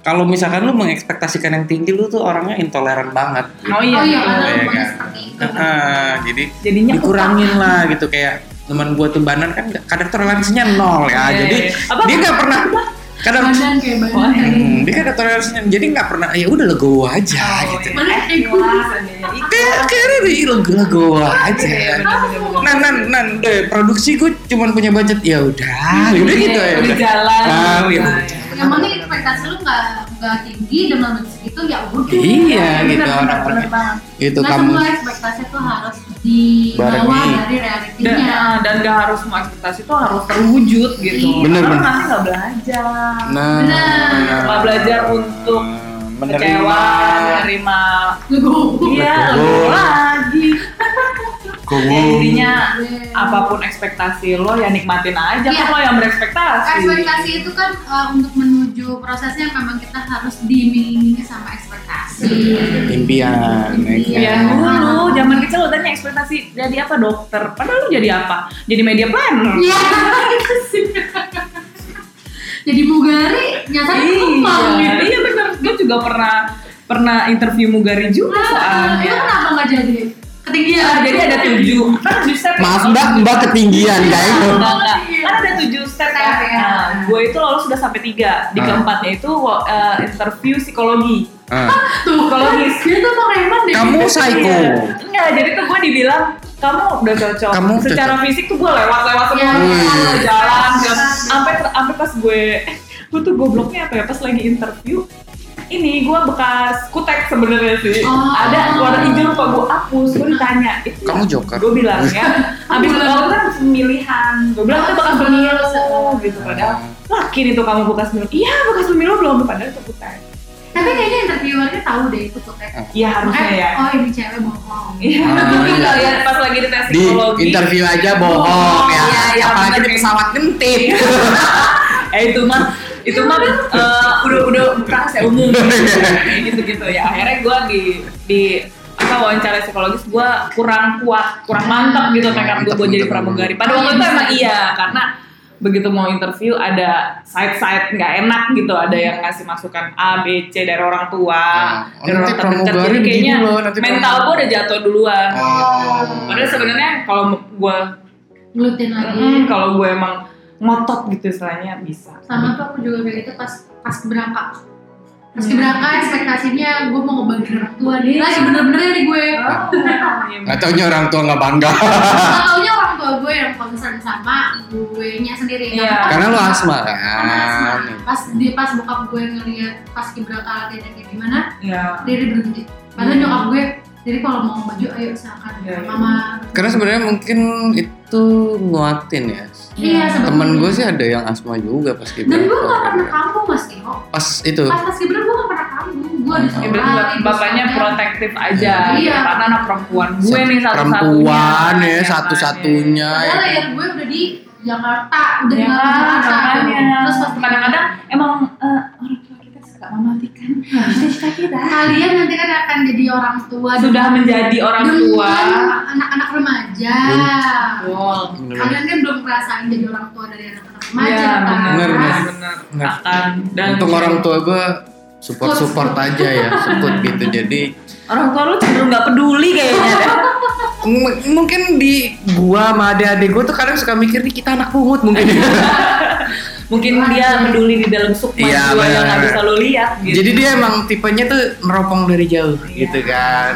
C: kalau misalkan lu mengekspektasikan yang tinggi lu tuh orangnya intoleran banget gitu.
A: Oh iya,
D: Oh iya,
A: betul.
D: karena
C: Iya,
D: rumahnya
C: kan?
D: seperti itu.
C: Heeh, jadi
A: Jadinya
C: dikurangin lah gitu kayak teman gua tuh banan kan nggak- kadar toleransinya nol ya
A: Iya,
C: jadi
A: iya. Apa?
C: dia nggak pernah kadar
D: Badan kayak badan
A: Wah. iya.
D: kayak
C: Hmm, dia kadar toleransinya jadi nggak pernah ya udah legowo aja
A: Oh,
C: gitu
A: Mana
D: Ikhlas.
C: kayak kayak Riri, lego legowo
A: Iya,
C: aja
A: Nah,
C: nan nan nan deh produksi gue cuman punya budget ya udah udah gitu ya
A: Hmm, iya, Udah
C: udah
A: jalan.
C: Ah, iya.
A: Nah, ya.
D: Yang penting ekspektasi lu nggak nggak tinggi dan lama segitu ya udah.
C: Iya,
D: Bener,
C: gitu,
D: bener,
C: orang-orang.
D: bener banget.
A: gitu
C: itu
A: Nah,
D: Nggak
C: kamu
D: semua ekspektasi itu harus dibawa
C: Barengi.
D: dari
A: Dan,
D: realitinya.
A: eh, dan gak harus semua ekspektasi itu harus terwujud gitu.
D: Iya.
C: Bener,
A: Karena
C: bener.
A: nanti gak belajar.
C: nah Hmm,
D: Benar.
A: Nggak belajar untuk
C: menerima
A: Kecewa, menerima.
D: Legowo.
A: Iya,
C: Betul.
A: lebih lagi. Ya,
C: Gowo.
A: intinya apapun ekspektasi lo ya nikmatin aja
D: Iya.
A: kan lo yang berekspektasi.
D: ekspektasi itu kan uh, untuk menuju prosesnya memang kita harus diiming-imingi sama ekspektasi
C: impian
A: Ya
D: Impian.
C: ya kan?
A: dulu, zaman kecil lo tanya ekspektasi jadi apa dokter, padahal lo jadi apa? Jadi media planner.
D: Iya. jadi mugari nyatanya tumpang
A: Iya,
D: gitu
A: iya bener. Gue juga pernah pernah interview Mugari juga
D: nah, itu
A: soalnya.
D: kenapa nggak jadi ketinggian
A: Iya, jadi ada tujuh. Kan tujuh step. ya.
C: maaf mbak mbak ketinggian
A: Enggak,
C: kayaknya
A: enggak, enggak. Kan ada tujuh step ya.
D: Step, Iya. ya.
A: Nah, gue itu lalu sudah sampai tiga. Di
C: Ah.
A: keempatnya itu eh, interview psikologi.
C: Ah.
D: tuh kalau
A: Psikologis.
D: dia tuh preman deh
C: kamu Oh, psycho
A: Iya. Enggak, jadi tuh gue dibilang kamu udah cocok.
C: Kamu
A: Secara
C: cocok.
A: fisik tuh gue lewat-lewat semua.
D: Iya.
A: Iya.
C: Hmm.
A: Jalan, jalan. Sampai sampai pas gue eh, gue tuh gobloknya apa ya pas lagi interview ini gue bekas kutek sebenarnya sih
D: Oh.
A: ada warna hijau lupa gue hapus gue ditanya itu
C: kamu joker
A: gue bilang ya habis itu
D: Bulan.
A: kan pemilihan gue bilang itu bekas
D: Oh.
A: pemilu gitu padahal laki itu kamu bekas pemilu iya bekas pemilu belum padahal itu kutek
D: tapi kayaknya interviewernya tahu deh itu tuh kayak
A: iya harusnya ya
D: oh ini cewek bohong
A: Iya,
C: Ah,
A: tapi
C: iya.
A: kalau lihat pas lagi di tes
C: di
A: psikologi.
C: interview aja bohong ya
A: Iya, iya,
C: apalagi
A: bener.
C: di pesawat ngentip
A: Eh itu mah itu mah eh, udah udah bukan saya umum gitu gitu ya. Akhirnya gue di di apa wawancara psikologis gue kurang kuat, kurang mantap gitu tekad gue buat jadi pramugari. Pada waktu itu emang iya karena begitu mau interview ada side-side nggak enak gitu ada yang ngasih masukan A B C dari orang tua
C: Nah,
A: dari
C: nanti
A: orang terdekat
C: pramugari
A: jadi kayaknya
C: begini loh, nanti
A: mental
C: pramugari.
A: gue udah jatuh duluan
C: Oh.
A: padahal sebenarnya kalau gue
D: ngelutin lagi
A: Hmm, kalau gue emang ngotot gitu istilahnya bisa.
D: sama tuh aku juga kayak gitu pas pas berangkat pas berangkat ekspektasinya gue mau ngebanggain orang tua dia
A: Iya.
D: lagi bener-bener dari gue
A: Oh.
C: nggak taunya orang tua nggak bangga
D: Nggak taunya orang tua gue yang concern sama gue nya
A: Iya.
D: sendiri Nggak
C: karena lu asma
D: karena asma.
C: kan
D: pas dia pas bokap gue ngeliat pas kibraka kayak gimana
A: ya.
C: Iya.
D: dia berhenti padahal
A: Hmm.
D: nyokap gue jadi kalau mau maju ayo silakan
A: Iya, iya.
D: mama
C: karena sebenarnya mungkin itu nguatin ya
D: iya sebetulnya.
C: temen gue sih ada yang asma juga pas gitu
D: dan gue gak pernah kambuh mas Tio
C: pas itu
D: pas pas kibra gue gak pernah kambuh gue
C: Hmm.
D: ada
A: Ya, bener,
D: sekolah di
A: bapaknya
D: sekolah.
A: protektif aja,
D: Ah, Iya.
A: karena anak perempuan gue nih satu-satunya.
C: perempuan ya
A: kan,
D: iya.
C: satu-satunya ya.
D: ya, Padahal layer gue udah di Jakarta udah
A: Ya
D: tinggal di
A: kan,
D: Jakarta
A: makanya.
D: terus pas
A: Kadang-kadang emang eh, orang tua kita suka mematikan cita-cita kita.
D: kalian nanti kan akan jadi orang tua
A: Sudah menjadi orang
D: dengan
A: tua.
D: anak-anak remaja
A: Betul.
D: kalian kan belum ngerasain jadi orang tua dari anak-anak remaja
A: Iya,
D: kan?
C: benar.
B: Benar,
C: Benar, benar.
B: benar.
C: Nggak.
A: Akan dan
C: Untung orang tua gue support support aja ya support gitu jadi
A: orang tua lu cenderung nggak peduli kayaknya.
C: m- mungkin di gua sama adik-adik gua tuh kadang suka mikir nih kita anak pungut mungkin
A: Mungkin dia peduli di dalam sukma
C: Iya,
A: jiwa yang nggak
C: benar.
A: bisa lu lihat. Gitu.
C: jadi dia emang tipenya tuh meropong dari jauh
A: Iya.
C: gitu kan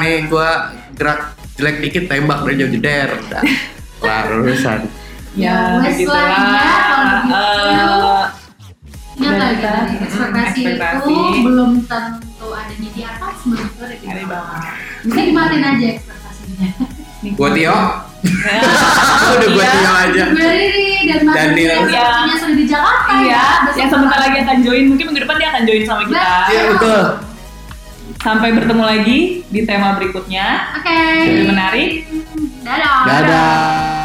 A: Iya.
C: nih gua gerak jelek dikit tembak dari jauh jeder Dah. kelar urusan
A: ya,
D: Ya, wes
A: gitu
D: lah, ya, kalau gitu.
A: Eh,
D: Ingat lagi
A: Benar.
D: tadi, ekspektasi,
A: Ekspektasi.
D: itu belum tentu adanya di atas menurut gue ada di
A: Ada di
D: bawah. Jadi nikmatin aja ekspektasinya.
C: gua Tio
A: Ya,
C: udah gua
A: iya.
C: Tio aja
D: Gue Riri dan Mas
C: Dan
D: Riri
C: Nil.
D: ekspektasinya sudah di Jakarta ya?
A: Iya,
D: Besok
A: yang sebentar
D: malam.
A: lagi akan join. Mungkin minggu depan dia akan join sama kita.
C: iya betul
A: Sampai bertemu lagi di tema berikutnya.
D: Oke.
A: Lebih menarik.
D: Dadah.
C: dadah